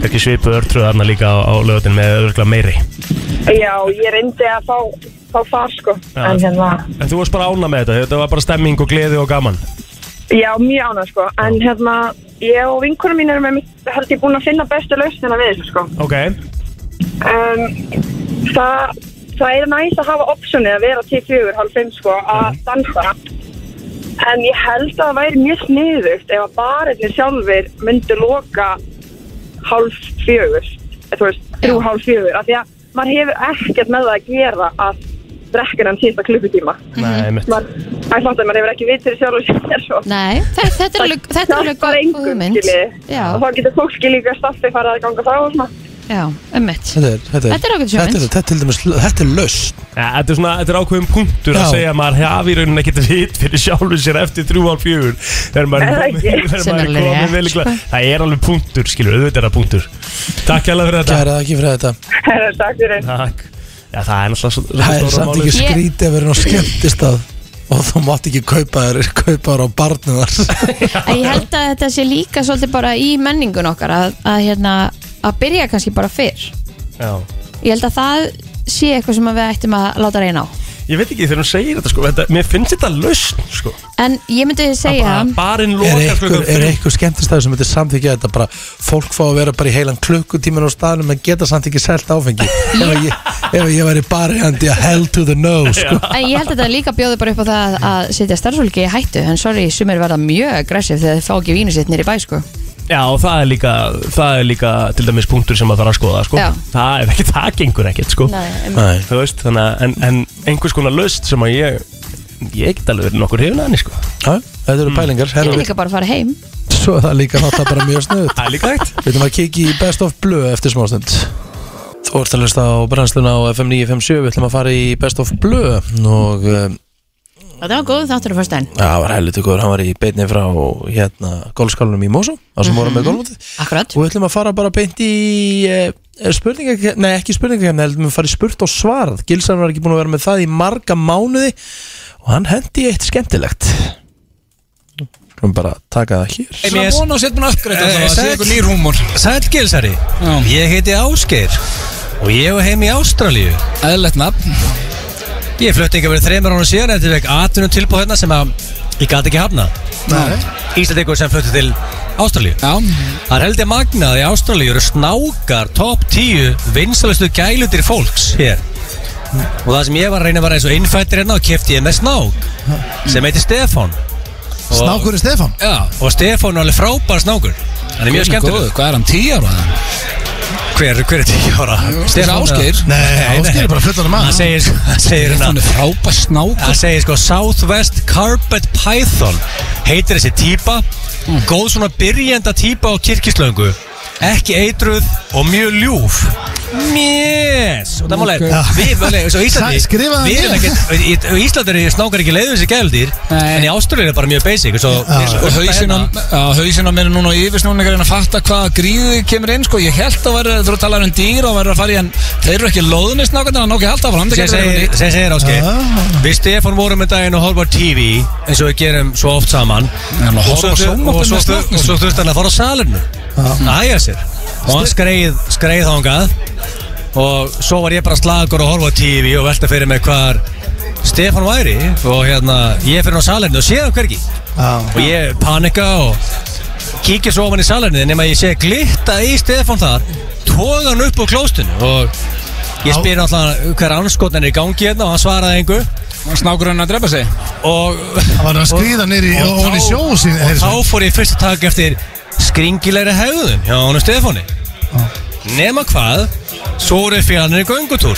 Speaker 3: ekki svipuð örtröð þarna líka á, á lögutin með örgla meiri
Speaker 5: já ég reyndi að fá, fá far sko
Speaker 3: Já.
Speaker 5: en hérna
Speaker 3: En þú varst bara ána með þetta, þetta var bara stemming og gleði og gaman
Speaker 5: já mjög ánað sko en hérna ég og vinkunum mín erum með held ég búin að finna bestu lausnina við þessu sko
Speaker 3: Ok,
Speaker 5: um, það, það er næst að hafa optionið að vera til fjögur, hálf fimm sko, að dansa en ég held að það væri mjög sniðugt ef að barirnir sjálfur myndu loka hálf fjögur eða þú veist, þrjú
Speaker 2: Já.
Speaker 5: hálf fjögur af því að maður hefur ekkert með það að gera að drekka hann síðasta klukkutíma
Speaker 3: nei mitt
Speaker 5: maður, að fatta, maður hefur ekki vitur sjálfur sér sko. svo
Speaker 2: nei, þetta, þetta er alveg þetta er alveg
Speaker 5: Hjálpar
Speaker 2: góð-
Speaker 5: engum,
Speaker 2: góð hugmynd
Speaker 5: skiljiði.
Speaker 2: já,
Speaker 5: og þá getur fólki líka staffi farið að ganga frá og svona [laughs]
Speaker 2: já, ummitt
Speaker 1: Þetta er, þetta er,
Speaker 2: Þetta er ágætis
Speaker 1: þetta er,
Speaker 2: hugmynd.
Speaker 1: þetta er, til dæmis- þetta er lausn.
Speaker 3: ja, Þetta er svona, þetta er ákveðum punktur
Speaker 1: Já.
Speaker 3: að segja að maður hafi í rauninni ekkert vit fyrir sjálfu sér eftir 3.5 þegar maður
Speaker 5: Nei,
Speaker 3: er
Speaker 5: það
Speaker 3: komin-
Speaker 5: ekki.
Speaker 3: [laughs] þegar
Speaker 2: Sem er
Speaker 3: maður er
Speaker 2: alveg rétt,
Speaker 3: komin vel í glæð
Speaker 2: sko.
Speaker 3: Það er alveg punktur, skilur, auðvitað er það punktur Takk hérlega fyrir þetta
Speaker 1: Kæra ekki fyrir þetta.
Speaker 5: Herra, takk fyrir
Speaker 3: Takk Já, það er náttúrulega svo-
Speaker 1: Það er
Speaker 3: stóra
Speaker 1: samt
Speaker 3: málið.
Speaker 1: ekki
Speaker 2: Ég-
Speaker 1: skrítið að vera nú skemmtist að. og þú mátt ekki kaupa þér kaupa þér á barnið þar
Speaker 2: En ég held að þetta sé líka svolítið bara í menningun okkar að, að, hérna, að byrja kannski bara fyrr
Speaker 6: Já.
Speaker 2: Ég held að það sé eitthvað sem að við ættum að láta reyna á
Speaker 6: Ég veit ekki þegar hún segir þetta sko þetta, Mér finnst þetta lausn sko
Speaker 2: En ég myndi segja
Speaker 6: bara, Barinn
Speaker 3: sko,
Speaker 1: er
Speaker 6: lokar
Speaker 1: einhver,
Speaker 6: klukkan
Speaker 1: er
Speaker 6: þrjú.
Speaker 1: einhver skemmtistæður sem þetta samþykja þetta bara fólk fá að vera bara í heilan klukkutímin á staðnum en geta samt ekki selt [laughs] áfengi ef, að ég, ef að ég væri bara hendi að hell to the no sko.
Speaker 2: En ég held að þetta líka bjóði bara upp á það að setja starfsfólki í hættu En sorry, sumir verða mjög aggressiv þegar þeir fá ekki vínu sitt nýri bæ sko
Speaker 6: Já, og það er líka, það er líka til dæmis punktur sem að fara að skoða sko.
Speaker 2: Já.
Speaker 6: það, er ekki, það gengur ekkert sko.
Speaker 2: Nei,
Speaker 1: Nei.
Speaker 6: Þú veist, þannig, að- en, en einhvers konar lausn sem að ég ég get alveg verið nokkur hefna henni sko.
Speaker 1: Já, þetta eru pælingar
Speaker 2: Ég
Speaker 1: herra,
Speaker 2: vil líka bara fara heim
Speaker 1: svo er það líka náttúrulega bara mjög snuð
Speaker 6: Það er líka eitt
Speaker 1: við erum að kikið í best of blue eftir smástund þú ert að lista á brennsluna á FM 957 við ætlum að fara í best of blue og um,
Speaker 2: Þetta var góð þáttur að fyrst enn
Speaker 1: Já, það var helviti góður, hann var í beinni frá hérna golfskálanum í Mosó þar sem vorum með golfmótið
Speaker 2: Akkurat
Speaker 1: og við ætlum að fara bara beint í eh, spurningakefni, nei ekki spurningakefni heldur við að fara í spurt og svarað Gilsan var ekki búin að vera með það í marga mánuði og hann hendi í eitt skemmtilegt Skulum bara taka það hér
Speaker 7: Svona vona og setjum uppgreitt
Speaker 3: Eh,
Speaker 7: Það sé
Speaker 3: sæll.
Speaker 7: eitthvað nýr húmor
Speaker 3: Sæll Gilsari,
Speaker 7: Já.
Speaker 3: ég heiti Ásgeir og ég hef heim í Ástralíu.
Speaker 7: Æðilegt nafn
Speaker 3: Ég flutti ekki verið þreymar ára síðan eftir vekk atvinnum tilbúð hérna sem að ég gæti ekki hafna.
Speaker 7: Nei.
Speaker 3: Íslandingur sem flutti til Ástralíu.
Speaker 7: Já
Speaker 3: Það er heldur magnað í Ástralíu eru snákar top 10 vinsalustu gælutir fólks hér. Og það sem ég var að reyna var eins og innfættir hérna og kefti ég með snák sem heiti Stefan. Og-
Speaker 7: Snákurinn Stefán
Speaker 3: Já, og Stefan er alveg frábær snákur. Hann er mjög
Speaker 7: Guð minn
Speaker 3: skemmtileg.
Speaker 7: góður, Hvað er hann, 10 ára? eða?
Speaker 3: Hver, hver er tíu ára?
Speaker 7: er Ásgeir. Nei, Ásgeir er bara fullorðinn maður.
Speaker 3: Hann segir, hann segir,
Speaker 7: Hann
Speaker 3: hann,
Speaker 7: er frábær snákur
Speaker 3: hann segir sko Southwest Carpet Python heitir þessi típa
Speaker 7: Mm.
Speaker 3: góð svona byrjenda típa á kirkislöngu ekki eitruð og mjög ljúf Mjess og það málega,
Speaker 7: Ok.
Speaker 3: við málega, svo Íslandi
Speaker 7: Sæ- skrifaðu hann
Speaker 3: við erum
Speaker 7: niður.
Speaker 3: ekkert, í- í- Íslandi eru snákar ekki leiðu þessi gældir,
Speaker 7: Nei.
Speaker 3: en í Ástralíu er bara mjög basic, svo
Speaker 7: Og hausinn á- á hausinn á minni núna og yfirsnúin er að reyna að fatta hvaða gríði kemur inn sko. Ég held að vera, þú talar um dýr og verður að fara í en þeir eru ekki loðinni snákandi hann okkar halda fram
Speaker 3: sem segir, sem segir Áskei Við Stefán vorum með daginn og horfum á TV eins og við gerum svo oft saman
Speaker 7: Já, nú,
Speaker 3: og
Speaker 7: horfa
Speaker 3: svo,
Speaker 7: á sjónvarpið
Speaker 3: og svo,
Speaker 7: með stráknum
Speaker 3: og svo
Speaker 7: sínum.
Speaker 3: þurfti hann að fara á salinu Æja sér og hann skreið, skreið þangað og svo var ég bara slagur og horfa á TV og velta fyrir mig hvar Stefán væri og hérna ég fyrir hann á salinu og sé það hvergi og ég panika og kíkja svo ofan í salinu nema ég sé glitta í Stefán þar tóða hann upp á klóstinu og ég spyr náttúrulega hver anskotin er í gangi hérna og hann svaraði engu
Speaker 7: Snákurinn að drepa sig
Speaker 3: og
Speaker 4: Það var að skrýða nýri
Speaker 3: og
Speaker 4: og hún í
Speaker 3: þá-
Speaker 4: sjó sín
Speaker 3: og þá fór ég fyrst að taka eftir skringilegri hegðun hjá honum Stefáni nema hvað svo voru fjarnir í göngutúr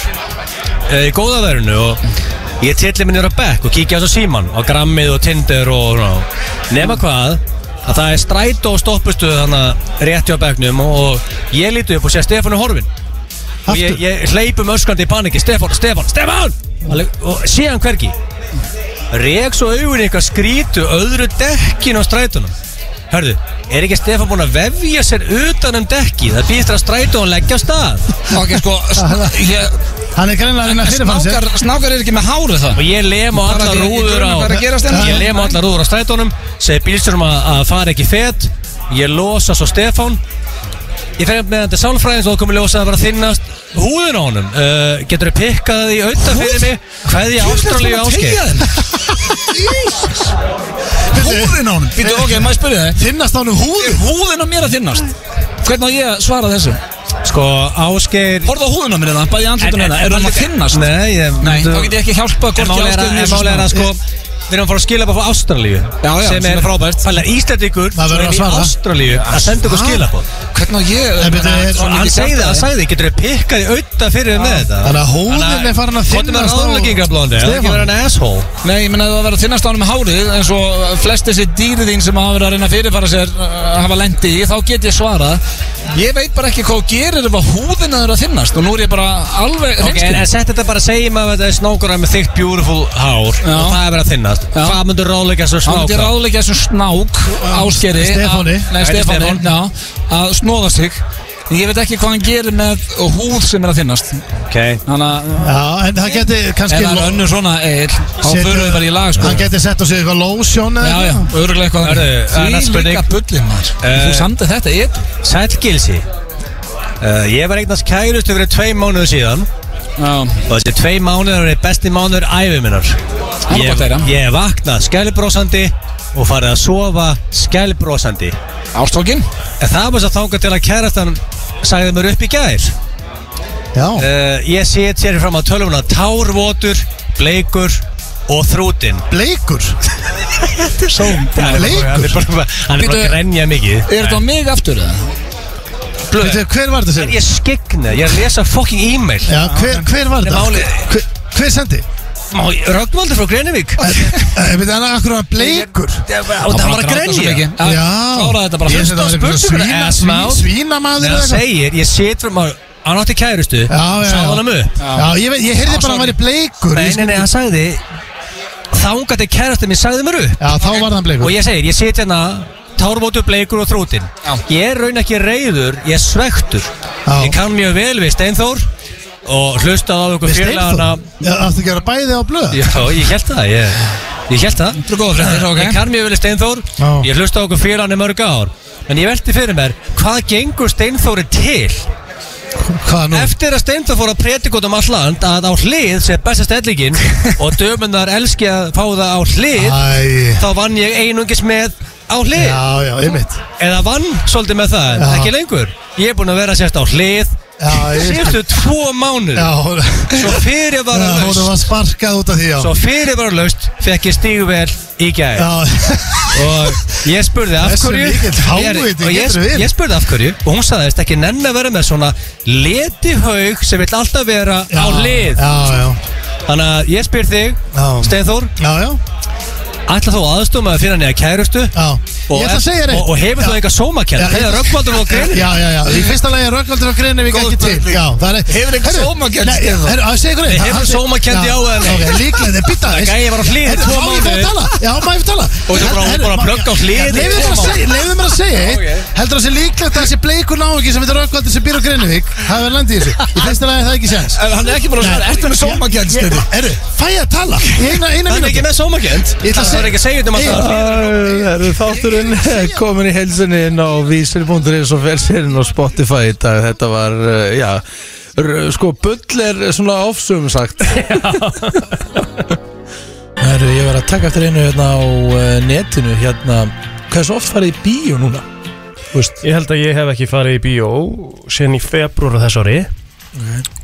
Speaker 3: eh, í góðaverðinu og ég tilli minni á bekk og kíkja á svo síman og grammið og tindir og svona nema hvað að það er strætó og stoppustuð þannig rétti á bekknum og ég líti upp og sé að Stefán er horfinn og ég, ég hleypum öskandi í paniki Stefán, Stefán, Stefán Alveg- og sé hann hvergi Rek svo augun eitthvað skrítu öðru dekkin á strætunum Hörðu, er ekki Stefán búinn að vefja sér utan um dekki? Það býðst að strætunum leggja á stað
Speaker 7: Ok, sko,
Speaker 4: [laughs]
Speaker 7: sn- ég-
Speaker 4: Hann er greinlega að reyna að fyrirfann sér
Speaker 7: snákar, snákar er ekki með hárið það
Speaker 3: Og ég lem á
Speaker 7: Það er
Speaker 3: alla
Speaker 7: ekki- ég
Speaker 3: rúður
Speaker 7: gruna
Speaker 3: á
Speaker 7: hvað er að gerast hérna.
Speaker 3: Ég lem á alla rúður á strætunum Segir bílstjórum að, að fara ekki fet Ég losa svo Stefán Ég fer með hann til sálfræðins og það komið ljósa að bara þinnast húðin á honum uh, Getur þið pikkað því auðvitað fyrir mig Hvað ég ástralíu áskeið
Speaker 7: Húðin á hann Býtu, ok, maður spyrja þig
Speaker 4: Finnast á hann um húð
Speaker 7: Er húðin á mér að þinnast? Hvernig á ég að svara þessu?
Speaker 3: Sko, áskeið
Speaker 7: Horfðu á húðin á mér það, bæði andlutun hérna Er hann að þinnast?
Speaker 3: Nei, ég,
Speaker 7: Nei, þá get ég ekki hjálpa
Speaker 3: En
Speaker 7: Gorki
Speaker 3: málega er að,
Speaker 7: áskeið
Speaker 3: en málega er að sko Við erum að fara að skila bara frá Ástralíu
Speaker 7: Já, já, sem er frábært.
Speaker 3: Þannig að Íslandingur
Speaker 4: Það verður að
Speaker 3: sem er í
Speaker 4: svara.
Speaker 3: Ástralíu að senda okkur skila bóð
Speaker 7: Hvernig á ég
Speaker 4: En byrju, er-
Speaker 7: Svona
Speaker 3: Hann segði
Speaker 7: mikið
Speaker 3: það,
Speaker 7: hjarta,
Speaker 3: hann sagði, getur þið pikkað í auða fyrir þið með þetta
Speaker 4: Þannig að hóðin er farin að
Speaker 3: Hvort er með
Speaker 4: þynnast á-
Speaker 3: ráðleggingablóndi, það er ekki
Speaker 4: Stefán.
Speaker 3: verið hann asshole
Speaker 7: Nei, ég menna að það verður að þinnast á hann með hárið eins og flest þessi dýri þín sem hafa verið að reyna að fyrirfara sér uh, hafa lendi í, þá get ég svarað Ég veit bara ekki hvað þú gerir ef að húðin að það er að þinnast og nú er ég bara alveg
Speaker 3: Ok, en,
Speaker 7: hreinskilinn.
Speaker 3: en sett þetta bara að segja maður að þetta er snákur með þykkt beautiful hár
Speaker 7: Já.
Speaker 3: og það er verið að þinnast
Speaker 7: Já.
Speaker 3: Hvað myndur ráðleggja svo
Speaker 7: Þá myndi ég
Speaker 3: snákur?
Speaker 7: ráðleggja þessum snák áskeri
Speaker 4: Stefáni.
Speaker 7: að- Nei,
Speaker 3: Þetta er
Speaker 7: Stefáni,
Speaker 3: Stefán.
Speaker 7: já Að snóða sig
Speaker 4: Ég veit ekki hvað hann gerir með húð sem er að þinnast
Speaker 3: Ok
Speaker 4: Þannig að
Speaker 7: Já, en það geti
Speaker 4: ef
Speaker 7: kannski
Speaker 4: það er önnur svona eil þá
Speaker 7: Setur-
Speaker 4: förum við bara í lag sko
Speaker 7: Hann geti sett á sig eitthvað lotion
Speaker 4: Já,
Speaker 7: eða
Speaker 4: já,
Speaker 7: eitthvað.
Speaker 4: örgulega eitthvað
Speaker 3: Herðu,
Speaker 4: þannig.
Speaker 3: það er næst
Speaker 4: Því líka
Speaker 3: spurning.
Speaker 4: bullin maður
Speaker 3: Eh,
Speaker 4: Þú samdi þetta eil
Speaker 3: Sæll Gilsi uh, Ég var eignast kærustu fyrir tvei mánuðu síðan
Speaker 4: Já,
Speaker 3: Og þessi tvei mánuður er besti mánuður ævi minnar
Speaker 4: er
Speaker 3: Ég,
Speaker 4: gott að heyra.
Speaker 3: ég hef vaknað skælbrósandi og farið að sofa skælbrósandi
Speaker 4: ástókin
Speaker 3: En það var svo þangað til að kærastan sagði mér upp í gær
Speaker 7: Já,
Speaker 3: uh, Ég set sér fram á tölvuna tárvotur, bleikur og þrútin
Speaker 7: bleikur
Speaker 3: Sóm, Hann er bara hann er bara
Speaker 4: Bíddu.
Speaker 3: að grenja mikið
Speaker 4: Er þetta á mig aftur eða?
Speaker 7: Veitu, Hver var þetta
Speaker 3: Er
Speaker 7: sér?
Speaker 3: ég skegna? Ég er að lesa fucking e-mail
Speaker 7: Já, hver, hver var
Speaker 3: Nei,
Speaker 7: þetta?
Speaker 3: málið-
Speaker 7: Hver, hver sendi?
Speaker 3: Má ég- Rögnvaldur frá Grenivík
Speaker 7: Ég veit að hann akkur var bleikur
Speaker 3: Það var að grenja
Speaker 7: Já.
Speaker 4: Kláraði þetta bara
Speaker 7: Ég
Speaker 4: fyrst
Speaker 7: held að
Speaker 4: og
Speaker 7: það væri
Speaker 4: spurningu
Speaker 7: einhver
Speaker 3: ass
Speaker 7: svína,
Speaker 3: mouth.
Speaker 7: svín, svínamaður
Speaker 3: Nei,
Speaker 7: eða
Speaker 3: hann
Speaker 7: eitthvað.
Speaker 3: segir, ég set frá maður Hann átti kærustu
Speaker 7: Já, já,
Speaker 3: Sáði
Speaker 7: já.
Speaker 3: hann um upp
Speaker 7: Já, ég, veit, ég heyrði bara að hann væri bleikur
Speaker 3: Nei,
Speaker 7: Ég
Speaker 3: nei,
Speaker 7: skil-
Speaker 3: nei, hann sagði Þángat er kærustu mér sagði mér upp
Speaker 7: Já, þá var hann
Speaker 3: Og
Speaker 7: bleikur
Speaker 3: ég segir, ég set hérna Tárvótu bleikur og þrútin Ég er raun ekki reyður, ég er svektur
Speaker 7: Já.
Speaker 3: Ég kann mjög vel við Steinþór Og hlustað á ykkur félagana
Speaker 7: Það átti ekki að vera bæði á blöð
Speaker 3: Já, ég held það, ég, ég held það
Speaker 4: Þetta er góða fréttir, ok
Speaker 3: Ég kann mjög vel Steinþór
Speaker 7: Já.
Speaker 3: Ég hlusta á okkur félagana í mörg ár En ég velti fyrir mér, hvað gengur Steinþóri til?
Speaker 7: Hvað nú?
Speaker 3: Eftir að Steindor fór að predikot um all land að á hlið sé besta
Speaker 7: [laughs]
Speaker 3: stellingin og dömunar elski að fá það á hlið
Speaker 7: Æ,
Speaker 3: þá vann ég einungis með á hlið
Speaker 7: já, já, einmitt
Speaker 3: eða vann svolítið með það,
Speaker 7: Já.
Speaker 3: ekki lengur ég er búinn að vera sérst á hlið
Speaker 7: Já, ég
Speaker 3: síðustu tvo mánuð
Speaker 7: Já, hún
Speaker 3: svo fyrir var
Speaker 7: Já, hún var sparkað út af því, já
Speaker 3: svo fyrir var fekk ég stígvel í gæð
Speaker 7: Já,
Speaker 3: og ég spurði af
Speaker 7: Þessu
Speaker 3: hverju
Speaker 7: mikill hávaði,
Speaker 3: og ég,
Speaker 7: getur verið.
Speaker 3: ég spurði af hverju og hún sagðist ekki nenn að vera með svona leti haug sem vill alltaf vera á hlið
Speaker 7: Já, já,
Speaker 3: Þannig að ég spyr þig,
Speaker 7: Já.
Speaker 3: Steinþór,
Speaker 7: já, já,
Speaker 3: ætla þú aðstofum að finna nýja kærustu
Speaker 7: já. Ég ætla að segja þér
Speaker 3: og, og
Speaker 7: eitt
Speaker 3: hefur þú eitthvað sómakent,
Speaker 7: Já,
Speaker 3: þegar
Speaker 7: ég-
Speaker 3: röggvaldur og greinir.
Speaker 7: Já, já, já, í fyrsta lagi er Röggvaldur og Greinnevík ekki til Já, það er
Speaker 4: Hefur einhver
Speaker 7: Heyrðu,
Speaker 4: sómakennd,
Speaker 7: nei,
Speaker 4: Stefán?
Speaker 7: Heyrðu, að segja ykkur eitt
Speaker 3: Nei, hefur
Speaker 7: Hann-
Speaker 3: sómakennd, já eða nei?
Speaker 7: Ok, líklega, þeir býta
Speaker 3: Það gæði var á hlið
Speaker 7: Heyrðu,
Speaker 3: tvo
Speaker 7: má ég fá að
Speaker 3: mánuði.
Speaker 7: tala? Já, má ég fá að tala?
Speaker 3: Og þú bara-
Speaker 7: Heyrðu,
Speaker 3: bara
Speaker 7: má-
Speaker 3: plugga á hlið í
Speaker 7: Leyfðu mér
Speaker 3: tvo
Speaker 7: að segja- Leyfðu mér að segja eitt
Speaker 3: Ok.
Speaker 7: Heldur það sé líklegt að þessi bleikur náungi sem þetta Röggvaldur sem býr á Greinnevík hafi verið landið í þessu Í fyrsta lagi er það ekki séns
Speaker 4: En Eh, hann er ekki bara svona, ertu með sómakjænt
Speaker 7: Ég-
Speaker 4: stedi?
Speaker 7: Heyrðu, fæ ég að tala Í eina, eina
Speaker 3: Hann er ekki
Speaker 7: mínútu
Speaker 3: með sómakent,
Speaker 7: Ég ætla að
Speaker 3: það
Speaker 7: segja-
Speaker 3: er ekki að segja þetta um alltaf.
Speaker 1: Það eru þátturinn komin í helsinni inn á vísir.is og felsirinn á Spotify í dag Þetta var, eh, já, r- sko bull er svona ofsum sagt Heru, Ég var að taka eftir einu hérna á eh, netinu hérna Hversu oft farið í bíó núna? Þú veist,
Speaker 8: Ég held að ég hef ekki farið í bíó sen í februar á þess ári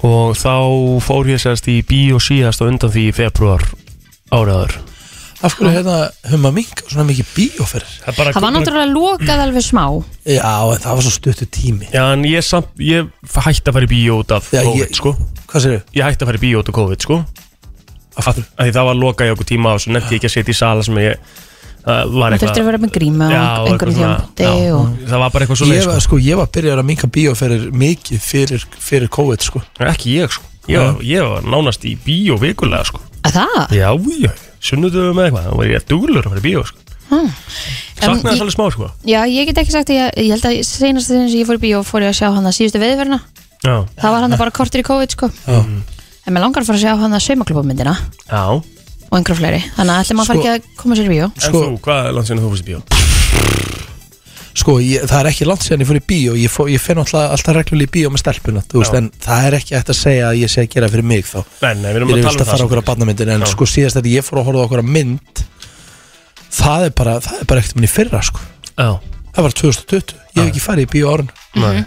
Speaker 8: og þá fór ég sérst í bíó síðast og undan því í februar áraður
Speaker 1: af hverju hérna höfum að minka svona mikið bíóferðir?
Speaker 8: Það, bara,
Speaker 2: Það var náttúrulega lokað alveg smá
Speaker 1: Já, en það var svo stuttu tími
Speaker 8: Já, en ég, samt, ég hætti að fara í bíó út af
Speaker 1: Já, ég-
Speaker 8: COVID, sko
Speaker 1: Hvað sér þau?
Speaker 8: Ég hætti að fara í bíó út af COVID, sko Af hverju? Því það var lokað í okkur tíma og svo nefndi ég ekki að setja í sala sem ég Það var
Speaker 2: Það þurfti að vera með gríma
Speaker 8: Já,
Speaker 2: og einhverjum
Speaker 8: eitthvað
Speaker 2: þjónpunkti
Speaker 8: svona- já.
Speaker 2: og
Speaker 8: Það var bara eitthvað svo
Speaker 1: Ég var, sko, ég var byrjar að minka bíóferðir mikið fyrir, fyrir COVID, sko
Speaker 8: sko Ekki ég, sko Ég var, ég var nánast í bíó vikulega, sko
Speaker 2: að það
Speaker 8: Já, já, sunnudöfum eða eitthvað Það var ég að duglur að fara í bíó, sko
Speaker 2: En
Speaker 8: Saknaði
Speaker 2: ég-
Speaker 8: þess alveg smá, sko
Speaker 2: Já, ég get ekki sagt að ég, ég held að senast þegar ég fór í bíó fór ég að sjá hann að síðustu veðverna
Speaker 8: Já,
Speaker 2: Það var hann bara kortir í COVID sko
Speaker 1: Mm.
Speaker 2: En mér langar að fara að sjá hann að saumaklubamyndina
Speaker 8: já
Speaker 2: og einhverju fleiri Þannig að ætlum að fara
Speaker 1: Sko-
Speaker 2: ekki að koma sér í bíó
Speaker 8: En
Speaker 1: Sko-
Speaker 8: þú, hvað er langt sinni þú fórst í bíó?
Speaker 1: Sko, ég, það er ekki langt síðan ég fór í bíó Ég, fó, ég finn alltaf, alltaf reglulega í bíó með stelpuna þú veist,
Speaker 8: Já.
Speaker 1: En það er ekki eftir að segja að ég sé að gera fyrir mig þá
Speaker 8: Nei, nei, við
Speaker 1: Ég
Speaker 8: erum
Speaker 1: er
Speaker 8: að
Speaker 1: vist
Speaker 8: tala um
Speaker 1: að fara okkur á barnamyndin En
Speaker 8: Já.
Speaker 1: sko, síðast þetta ég fór að horfa okkur á mynd Það er bara, það er bara ekkert minn í fyrra sko.
Speaker 8: Já,
Speaker 1: Það var 2020, ég hef ekki farið í bíó árun
Speaker 2: Mhm.
Speaker 8: Nei.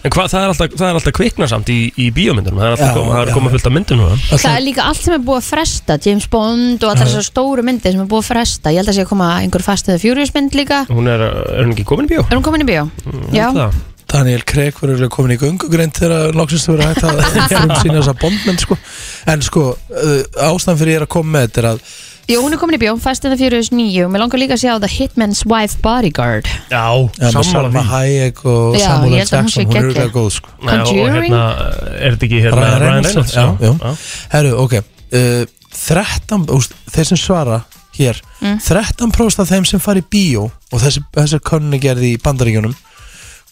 Speaker 8: En hvað, það er alltaf, það er alltaf kvikna samt í, í bíómyndunum, það er alltaf
Speaker 1: Já,
Speaker 8: koma, það er
Speaker 1: já.
Speaker 8: að koma fullt af myndunum núna.
Speaker 2: Það er líka allt sem er búið að fresta James Bond og allar þessar stóru myndir sem er búið að fresta Ég held að sé að koma einhver fastið Furious mynd líka
Speaker 8: Hún er, er hún ekki komin í bíó?
Speaker 2: Er hún komin í bíó?
Speaker 1: Mm,
Speaker 2: Já,
Speaker 8: Það.
Speaker 1: Daniel Craig verður örugglega komin í göngugreint þegar loksins þau verður hægt að
Speaker 8: [laughs]
Speaker 1: [laughs] frum sína þessa bondmynd sko. en sko, uh, ástæðan fyrir ég er að koma með þetta er að
Speaker 2: Jú, hún er komin í bjó, Fast and the Furious 9 og mér langar líka að sjá The Hitman's Wife Bodyguard
Speaker 8: Já,
Speaker 1: ja, með
Speaker 8: sammála því.
Speaker 1: Salma Hayek og
Speaker 2: Já,
Speaker 1: Samuel
Speaker 2: ég
Speaker 1: L.
Speaker 2: held að hún
Speaker 1: Jackson,
Speaker 2: sé
Speaker 1: hún er
Speaker 2: geggjuð.
Speaker 1: auðvitað góð sko.
Speaker 8: Nei, og
Speaker 2: Conjuring?
Speaker 8: hérna, er þetta ekki hérna
Speaker 1: Ryan
Speaker 8: Ryan Reynolds?
Speaker 1: Reynolds, já, já. Herru, ok uh, 13, úst, þeir sem svara hér,
Speaker 2: Mm.
Speaker 1: 13% af þeim sem fari í bíó og þessi, þessi konni gerði í bandaríkjunum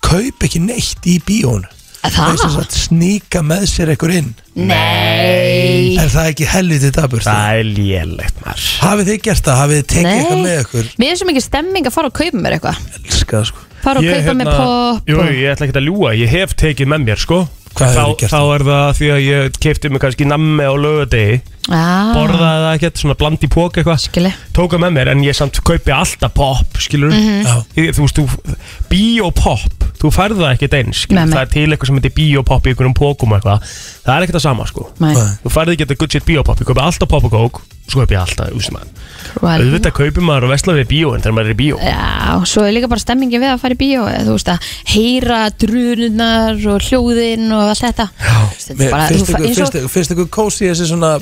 Speaker 1: kaup ekki neitt í bíón
Speaker 2: Það?
Speaker 1: er svo að sníka með sér ekkur inn
Speaker 2: Nei
Speaker 1: er það ekki helviti dabur
Speaker 3: Það er lélegt maður
Speaker 1: hafið þið gert það, hafið þið tekið eitthvað með ykkur
Speaker 2: Mér er svo mikið stemming að fara og kaupa mér eitthvað
Speaker 1: elska það sko
Speaker 2: Fara og
Speaker 3: Ég, hérna,
Speaker 2: kaupa mér pop
Speaker 3: Jú,
Speaker 2: og-
Speaker 3: ég ætla ekki að ljúa, ég hef tekið með mér sko
Speaker 1: Hvað
Speaker 3: þá,
Speaker 1: hefurðu gert
Speaker 3: þá er það því að ég keipti mig kannski nammi á lögadegi
Speaker 2: Já,
Speaker 3: Borðaði það ekkert, svona blandi pók eitthvað
Speaker 2: Ah. skilji.
Speaker 3: Tóka með mér en ég samt kaupi alltaf pop, skilur
Speaker 2: Mhm.
Speaker 1: Já.
Speaker 3: ég, Þú veist, þú, biopop, þú færð það ekkert eins skilur.
Speaker 2: Nei, nei.
Speaker 3: Það er til eitthvað sem heitir biopop í einhverjum pókum og eitthvað Það er ekkert það sama sko
Speaker 2: Nei,
Speaker 1: Nei.
Speaker 3: Þú færði ekki þetta good shit biopop, ég kaupi alltaf pop og kók Svo kaupi ég alltaf, þú veist maður
Speaker 2: cruel.
Speaker 3: Auðvitað kaupi maður og vesla við bíó en þegar maður er í bíó
Speaker 2: Eh. Já, svo er líka bara stemmingin við að fara í bíó eða þú veist að heyra drununar og hljóðin og allt þetta Já, þetta er
Speaker 1: Mér
Speaker 2: bara,
Speaker 1: finnst
Speaker 2: þú fa-
Speaker 1: ykkur-
Speaker 2: eins
Speaker 1: finnst
Speaker 2: og
Speaker 1: ykkur- finnst ykkur kósi þessi svona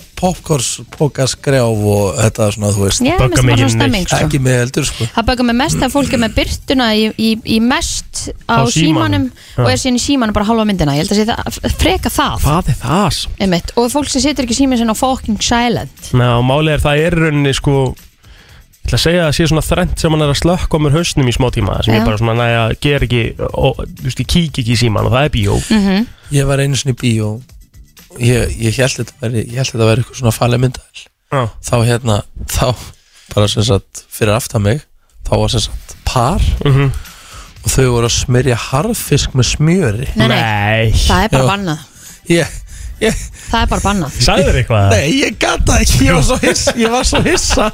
Speaker 1: popkorspókaskrjáf og þetta svona þú veist
Speaker 2: Já, mér
Speaker 3: böggar
Speaker 2: finnst
Speaker 3: mig
Speaker 2: bara
Speaker 3: ekki
Speaker 2: svona stemming
Speaker 3: neitt.
Speaker 2: sko.
Speaker 1: ekki með eldur sko
Speaker 2: Það bögum mig mest að fólk er með byrtuna í, í, í mest á,
Speaker 3: Á símanum.
Speaker 2: símanum,
Speaker 3: Já.
Speaker 2: og er síðan í símanum bara halva myndina ég held að sé það, freka það
Speaker 3: Hvað er það samt?
Speaker 2: einmitt, og fólk sem situr ekki síminn sinna á fucking silent
Speaker 3: Ná, málið er það er í rauninni sko Ég ætla að segja að það sé svona þrennt sem hann er að slökka á mér hausnum í smá tíma sem
Speaker 2: Já.
Speaker 3: ég bara svona næja, ger ekki og, þú veist, ég kík ekki í síman og það er bíó
Speaker 2: Mm.
Speaker 1: ég var einu svona í bíó ég, ég held þetta væri ég held þetta væri eitthvað svona falið myndaðil
Speaker 3: Já.
Speaker 1: þá hérna þá bara sem sagt fyrir aftan mig þá var sem sagt par
Speaker 3: Mhm.
Speaker 1: og þau voru að smyrja harðfisk með smjöri
Speaker 2: nei, nei, það er bara
Speaker 1: Já.
Speaker 2: bannað
Speaker 1: ég, ég,
Speaker 2: það er bara bannað
Speaker 3: Sagður þér eitthvað?
Speaker 1: nei ég gata ekki ég var svo hissa ég var svo hissa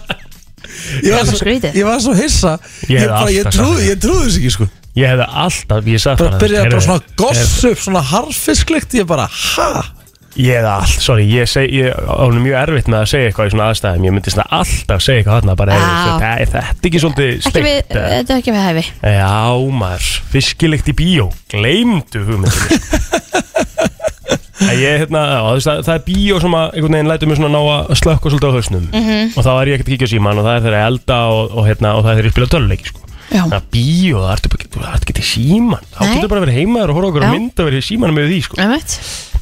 Speaker 1: ég var
Speaker 2: Það er
Speaker 1: svo,
Speaker 2: skrítið.
Speaker 1: ég var svo hissa
Speaker 3: Ég
Speaker 1: ég,
Speaker 3: hefði
Speaker 1: bara, ég,
Speaker 3: alltaf
Speaker 1: trúði,
Speaker 3: sagt
Speaker 1: ég trúði þess ekki sko
Speaker 3: Ég hefði alltaf, ég sagði
Speaker 1: bara byrjaði bara svona
Speaker 3: heyrðu,
Speaker 1: goss upp svona harðfisklikt ég bara ha
Speaker 3: Ég hefði allt, sorry, ég segi, ég ánum mjög erfitt með að segja eitthvað í svona aðstæðum Ég myndi svona alltaf segja eitthvað þarna bara,
Speaker 2: Já.
Speaker 3: heyrðu, þetta er þetta ekki svolítið
Speaker 2: ekki við, eh,
Speaker 3: steikt eða?
Speaker 2: þetta er ekki við hæfi
Speaker 3: Já maður, fiskilegt í bíó Gleimdu hugmyndinu
Speaker 2: [laughs]
Speaker 3: Nei, sko. ég, hérna, á, þú veist, það, það er bíó sem að einhvern veginn lætur mig svona ná að slökka svolítið á hausnum -hmm.
Speaker 2: Mhm.
Speaker 3: og þá er ég ekkert að kíkja á síman og það er þeirra elda og, og, hérna, og það er þeirra að spila töluleiki sko.
Speaker 2: Já.
Speaker 3: Það er bíó, það ertu bara- þú ert ekki til síman þá
Speaker 2: Nei.
Speaker 3: getur bara að vera heimaður og horfa okkur
Speaker 2: Já.
Speaker 3: að mynda að vera í símanum með því sko.
Speaker 2: einmitt,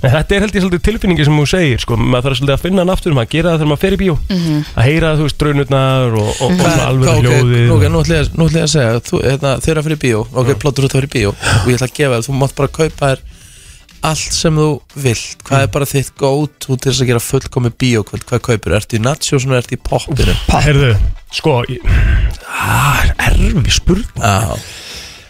Speaker 3: En þetta er held ég svolítið tilfinningi sem þú segir sko. maður þarf svolítið að finna hann aftur, maður gera það þegar maður fer í bíó -hmm. að heyra þú veist draunurnar og, og, og svona alveg
Speaker 1: Ok,
Speaker 3: hljóðið
Speaker 1: ok, nú ætla ég að- nú ætla ég að segja þú, hérna, Þau eru að fyrir bíó, ok, plottur út að fyrir bíó Og ég ætla að gefa þér, þú mátt bara kaupa þér Allt sem þú vilt Hvað
Speaker 3: Mm.
Speaker 1: er bara þitt gótt Þú til þess að gera fullkomi bíókvöld, hvað kaupir Ertu í nachosunum, ertu í poppinu
Speaker 3: Herðu, sko ég- Ah, Erfi spurning
Speaker 1: Já,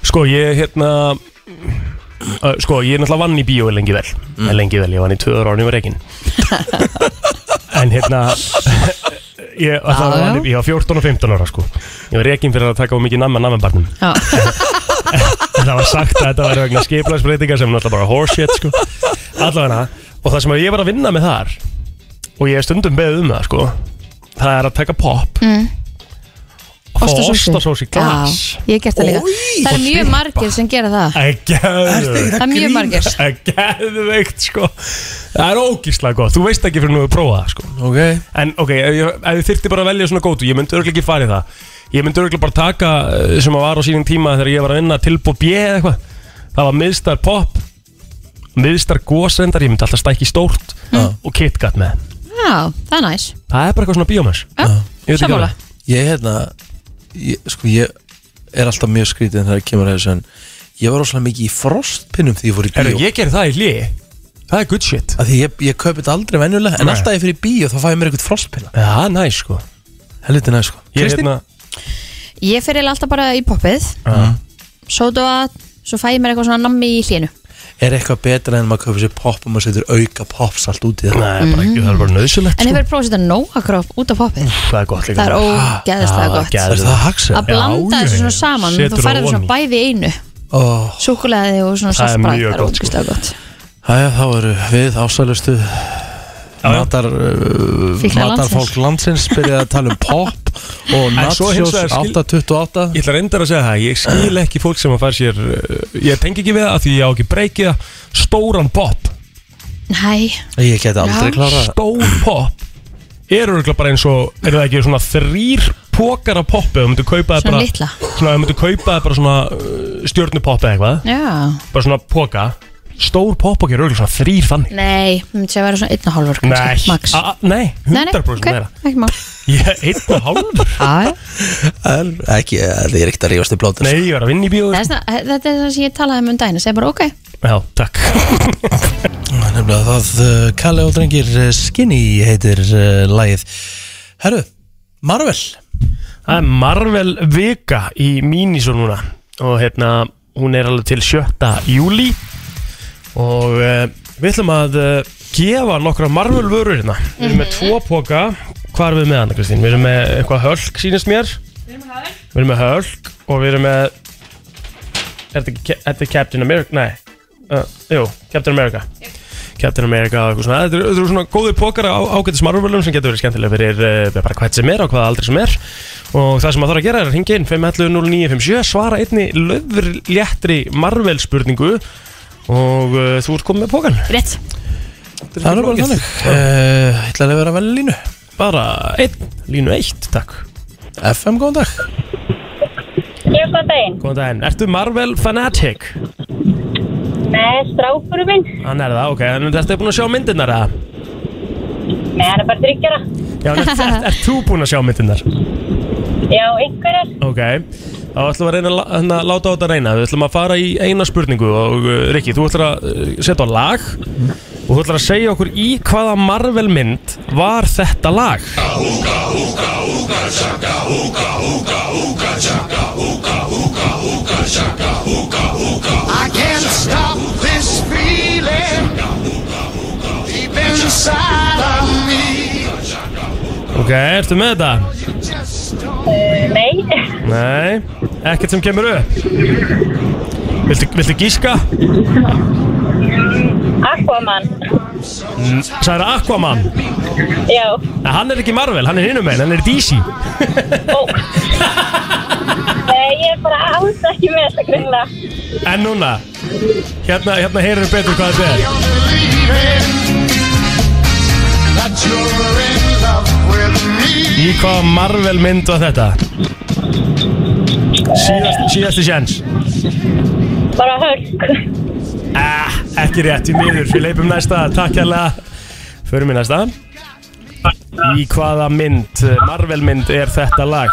Speaker 3: Sko ég hérna uh, Sko ég er náttúrulega vann í bíói lengi vel mm. Lengi vel, ég vann í tvöður ára yfir reikin En hérna [laughs] Ég, ah,
Speaker 2: Já, já.
Speaker 3: vann, í- ég var 14 og 15 ára sko Ég var reikin fyrir að taka á mikið namma namma barnum
Speaker 2: já,
Speaker 3: En það var sagt að þetta var vegna skiplagsbreytinga sem er náttúrulega bara horseshit sko. allavega og það sem ég var að vinna með þar og ég er stundum beðið um það sko, það er að taka pop mm. og fá
Speaker 2: Ostasósu.
Speaker 3: ostasós í glas
Speaker 2: já, ég hef gert það líka það er mjög margir sem gera það
Speaker 3: Það
Speaker 2: það er mjög margir
Speaker 3: er geðveikt sko Það er ógíslega gott, þú veist ekki fyrir nú að prófa það sko
Speaker 1: ok
Speaker 3: En ok, ef ég- ef ég þyrfti bara að velja svona gótu Ég myndi örglega ekki fara í það Ég myndi örglega bara taka eh, sem að var á sínum tíma Þegar ég var að vinna tilbúið bjeð eða eitthvað Það var miðstar pop Miðstar gósendar, ég myndi alltaf stækki stórt
Speaker 2: Mm.
Speaker 3: Og KitKat með
Speaker 2: já, það er næs
Speaker 3: Það er bara eitthvað svona bíómess
Speaker 2: Já,
Speaker 3: Ég veit ekki
Speaker 2: sammála.
Speaker 3: hvað
Speaker 1: Ég, hérna, ég, sko, ég er alltaf mjög skrítið Þegar ég kemur að þessu en Ég var rosalega mikið í frostpinnum því ég fór í
Speaker 3: Herru,
Speaker 1: bíó
Speaker 3: ég gerði það í lí Það er good shit
Speaker 1: Af Því ég, ég kaupi þetta aldrei venjulega En
Speaker 3: Nei.
Speaker 1: alltaf ég fyrir bíó þá fæ ég mér eitthvað frostpinna
Speaker 3: Já, næ sko
Speaker 1: Helviti næ, sko
Speaker 3: Ég er
Speaker 1: Kristín?
Speaker 3: hérna
Speaker 2: Ég fer eiginlega alltaf bara í poppið Sótavat, svo fæ ég mér eitthvað svona nammi í hlínu
Speaker 1: Er eitthvað betra en maður kaupir sér popp og maður setur auka popps allt út í það?
Speaker 3: Nei, bara ekki, það er bara nöðsulegt
Speaker 2: Mm. En hefur prófað að setja nóakróf út á poppið
Speaker 3: Það er gott líka
Speaker 2: Það er ógeðslega
Speaker 3: Já,
Speaker 1: Er
Speaker 2: gott.
Speaker 1: það
Speaker 3: geðveikt.
Speaker 1: að hagsa?
Speaker 2: Að
Speaker 3: Já,
Speaker 2: blanda
Speaker 3: já,
Speaker 2: þessu
Speaker 3: já.
Speaker 2: svona saman
Speaker 3: Setur
Speaker 2: Þú færði
Speaker 3: það
Speaker 2: svona
Speaker 3: ofan
Speaker 2: bæði í einu
Speaker 1: Oh,
Speaker 2: Súkulaði og svona
Speaker 3: Það er
Speaker 2: saltbragð Það
Speaker 3: mjög
Speaker 2: er
Speaker 3: gott, sko.
Speaker 2: ógeðslega gott
Speaker 1: Æja, þá eru við ásælustu
Speaker 3: já.
Speaker 1: matar, uh,
Speaker 2: Fíknar
Speaker 1: matarfólk landsins byrjaði að tala um popp og
Speaker 3: En svo hins
Speaker 1: nachos
Speaker 3: vegar skil-
Speaker 1: 828
Speaker 3: Ég ætla reyndar að segja það, ég skil ekki fólk sem að fara sér uh, Ég tengi ekki við það af því ég á ekki breykið það. Stóran pop,
Speaker 2: Nei,
Speaker 1: Ég geti aldrei
Speaker 2: Já.
Speaker 1: klára það
Speaker 3: stór pop Eru örgulega bara eins og, eru það ekki svona þrýr pókar af poppi Þú myndir kaupa það
Speaker 2: Svona
Speaker 3: bara
Speaker 2: litla.
Speaker 3: Svona, þú myndir kaupa það bara svona uh, stjörnupopp eða eh, eitthvað
Speaker 2: já
Speaker 3: Bara svona póka stór popokki er auðvitað svona þrýr þannig
Speaker 2: Nei, það myndi segja að vera svona einn og hálfur
Speaker 3: Nei,
Speaker 2: kannski, max.
Speaker 3: A- nei,
Speaker 2: Nei, nei,
Speaker 3: 100%
Speaker 2: ok,
Speaker 3: meira Ah,
Speaker 2: ekki mál
Speaker 3: Ég er einn og hálfur
Speaker 2: Já, já.
Speaker 1: En ekki, það er ekkert að rífast sko. í blóður
Speaker 3: Nei, ég var að vinna í bíó
Speaker 2: Það er svona- Þetta er það sem ég talaði um um daginn Segði bara ok
Speaker 3: Já, takk
Speaker 1: Nefnilega það uh, Kalle og drengir uh, Skinny heitir uh, lagið Herru, Marvel
Speaker 3: Það er Marvel Vika í Mínisó núna og hérna, hún er alveg til 7. júli og uh, við ætlum að uh, gefa nokkra Marvel vörur hérna Við erum með tvo póka, hvað erum við með hana Kristín? Við erum með eitthvað hölk sínist mér Við erum með hölk og við erum með Er þetta ekki Ca- er þetta Captain America? Nei uh, Jú, Captain America Captain America og eitthvað svona Þetta eru- þetta eru svona góðir pókar á ágætis Marvelum sem getur verið skemmtilega fyrir uh, bara hvað sem er á hvaða aldrei sem er og það sem maður þarf að gera er að ringa inn 511-0957 svara einni löfur léttri Marvel spurningu og uh, þú ert komið með pókan
Speaker 2: Rétt
Speaker 1: Það er bara þannig uh, Ætlaði að vera vel í línu
Speaker 3: bara einn, línu eitt, takk
Speaker 1: FM, góðan dag
Speaker 5: Ég var daginn.
Speaker 3: Góðan daginn, ertu Marvel fanatic?
Speaker 5: Nei, strákurinn minn.
Speaker 3: Hann er það, ok, en þetta er búin að sjá myndirnar eða?
Speaker 5: Nei, hann er bara tryggjara.
Speaker 3: Já, en ert er, er þú búin að sjá myndirnar?
Speaker 5: Já, einhverjar.
Speaker 3: Ok, þá ætlum við að reyna að la- hérna, láta á þetta reyna Við ætlum að fara í eina spurningu og uh, Rikki, þú ætlar að uh, setja á lag og þú ætlar að segja okkur í hvaða Marvel mynd var þetta lag
Speaker 9: I can't stop this feeling deep inside of me.
Speaker 3: Ok, ertu með þetta?
Speaker 5: Nei.
Speaker 3: Nei, ekkert sem kemur upp Viltu, viltu gíska?
Speaker 5: Aquaman.
Speaker 3: Særa Aquaman
Speaker 5: Já.
Speaker 3: Nei, hann er ekki Marvel, hann er hinum einn, hann er DC
Speaker 5: Nei, ég er bara alls ekki með þetta grunna.
Speaker 3: En núna, hérna, hérna heyrum við betur hvað þetta er
Speaker 9: You're believing that you're in love with me.
Speaker 3: Í hvaða Marvel mynd var þetta? Síðast, síðasti sjans
Speaker 5: Bara hölk.
Speaker 3: ah, Ekki rétt í miður, við leipum næsta Takk hérlega Förum í næsta Í hvaða mynd, eh, Marvel mynd er þetta lag?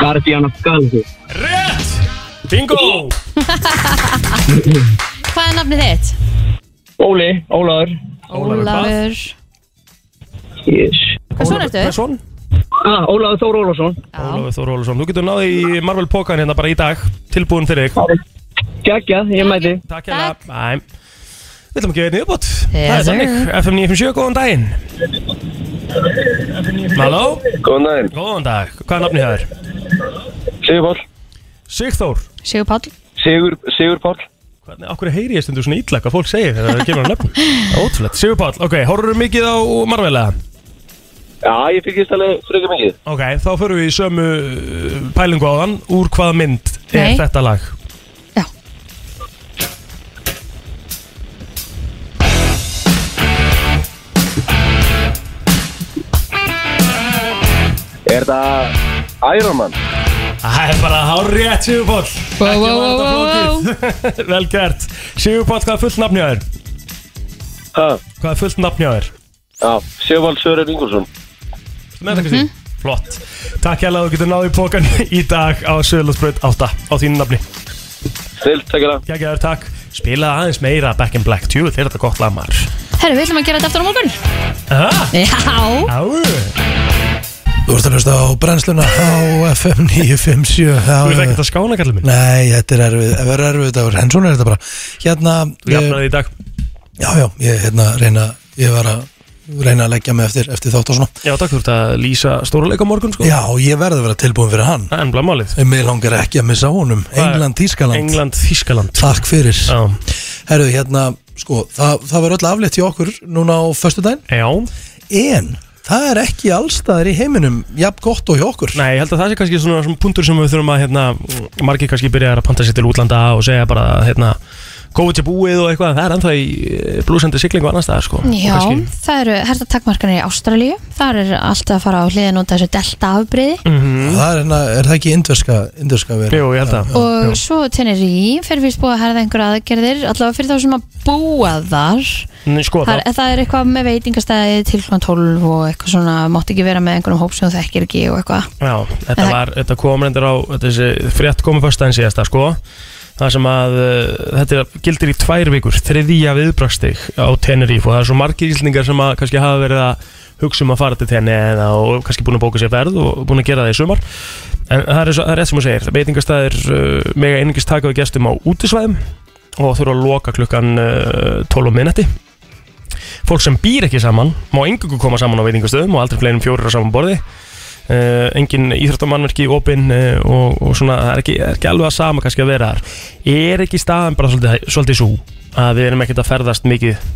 Speaker 3: Guardian of Galaxy Rétt! Bingo!
Speaker 2: Hvað er nafnið þitt?
Speaker 10: Óli, Ólaður
Speaker 3: Ólafur hvað?
Speaker 2: Ólafur
Speaker 10: yes.
Speaker 2: Hvað svona ertu?
Speaker 3: Persson?
Speaker 10: ah, Ólaður Þór Ólafsson
Speaker 2: Já,
Speaker 3: Ólafur Þór Ólafsson Þú getur náði í Marvel pókan hérna bara í dag Tilbúin fyrir þig
Speaker 10: Gægjað, ég mæti
Speaker 3: Takk hérlega Æ, Við ætlum að gefa einni uppbót Það
Speaker 2: Yes,
Speaker 3: er þannig FM 957, góðan daginn Halló
Speaker 11: Góðan daginn,
Speaker 3: Góðan dag, hvað er nafnið það er?
Speaker 11: Sigur Pál
Speaker 3: Sigþór
Speaker 2: Sigur Páll
Speaker 11: Sigur, Sigur Pál
Speaker 3: Hvernig, okkur heyri ég stundur svona illa hvað fólk segir þegar það kemur að nöfn Það er Ótrúlegt, Sigur Pál, ok, horfum mikið á marvelega
Speaker 11: Já, ég fyrkist alveg frekar mikið
Speaker 3: Ok, þá förum við í sömu uh, pælingu á þann Úr hvaða mynd er
Speaker 2: Nei.
Speaker 3: þetta lag?
Speaker 2: Já.
Speaker 11: Er það Iron Man?
Speaker 3: Það er bara hár rétt, Sigur Pál
Speaker 2: Wow, wow,
Speaker 3: var
Speaker 2: wow, wow,
Speaker 3: þetta
Speaker 2: wow.
Speaker 3: flókið. [laughs] Vel gert Sigur Pál, hvað er fullt nafnið það er?
Speaker 11: Ha,
Speaker 3: Hvað er fullt nafnið það er?
Speaker 11: já, Sigur Pál Sören Ingolson
Speaker 3: með það Kristín Flott Takk hérlega, þú getur náði í pókan í dag á Söðlóðsbröð 8 á þínu nafni
Speaker 11: Til, takk hérna
Speaker 3: Kækjaður, takk Spila aðeins meira Back in Black 20 Þeir þetta gott lamar
Speaker 2: Herru, við ætlum að gera þetta aftur á morgun
Speaker 3: Aha,
Speaker 2: Já
Speaker 3: á Þú
Speaker 1: Þú ert að hlusta á brennsluna á FM 957 Þú
Speaker 3: ert ekkert að skána, kallið minn
Speaker 1: Nei, þetta er erfið, það verður erfið dagur, en svona er þetta bara Hérna,
Speaker 3: Þú jafnaði í dag
Speaker 1: já, já, ég hérna reyna, ég var að reyna að leggja mig eftir, eftir þátt og svona
Speaker 3: Já, takk, þú ert að lýsa stóruleika morgun, sko
Speaker 1: Já, ég verði að vera tilbúin fyrir hann
Speaker 3: Það er ennbla málið
Speaker 1: En Mér langar ekki að missa honum, England, Ískaland
Speaker 3: England, Þískaland
Speaker 1: Takk fyrir
Speaker 3: Já,
Speaker 1: Herru, hérna, sko, það, það verður öll aflétt hjá okkur núna á föstudaginn
Speaker 3: já
Speaker 1: En það er ekki allstaðar í heiminum jafn gott og hjá okkur
Speaker 3: Nei, ég held að það sé kannski svona, svona punktur sem við þurfum að hérna, margir kannski byrja að panta sér til útlanda og segja bara hérna, COVID er búið og eitthvað Það er ennþá í eh, blúsandi siglingu annars staðar sko
Speaker 2: Já,
Speaker 3: Kannski.
Speaker 2: það eru hertatakmarkanir í Ástralíu þar er allt að fara á hliðin út af þessu delta afbriði
Speaker 1: Mm.
Speaker 4: Það er, hérna, er það ekki indverska, indverska verið?
Speaker 3: Jú, ég held að
Speaker 2: og svo tennir í fyrir fyrst búið að herða einhverja aðgerðir allavega fyrir þá sem að búa þar
Speaker 3: Nei, sko,
Speaker 2: það, er- það er eitthvað með veitingastæði til klokkan 12 og eitthvað svona mátt ekki vera með einhverjum hóp sem þú þekkir ekki og eitthvað
Speaker 3: Já, þetta,
Speaker 2: En það-
Speaker 3: var, þetta kom reyndar á þetta þessi frétt komið fyrstæðin síðasta sko það sem að uh, þetta er, gildir í tvær vikur, þriðja viðbrakstig á Tenerife og það er svo margir íslningar sem að kannski hafa verið að hugsa um að fara til Tenerife og kannski búin að bóka sér verð og búin að gera það í sumar en það er, svo, það er rétt sem þú segir, það beitingastæðir uh, mega einungis taka við gestum á útisvæðum og þurfa að loka klukkan uh, 12 minnetti fólk sem býr ekki saman má engungu koma saman á veitingastöðum og aldrei fleirum fjórir á saman borði uh, engin íþróttamannverki opinn uh, og, og svona, það er ekki, það er ekki alveg að sama kannski að vera þar er ekki staðan bara svolítið, svolítið svo að við erum ekkert að ferðast mikið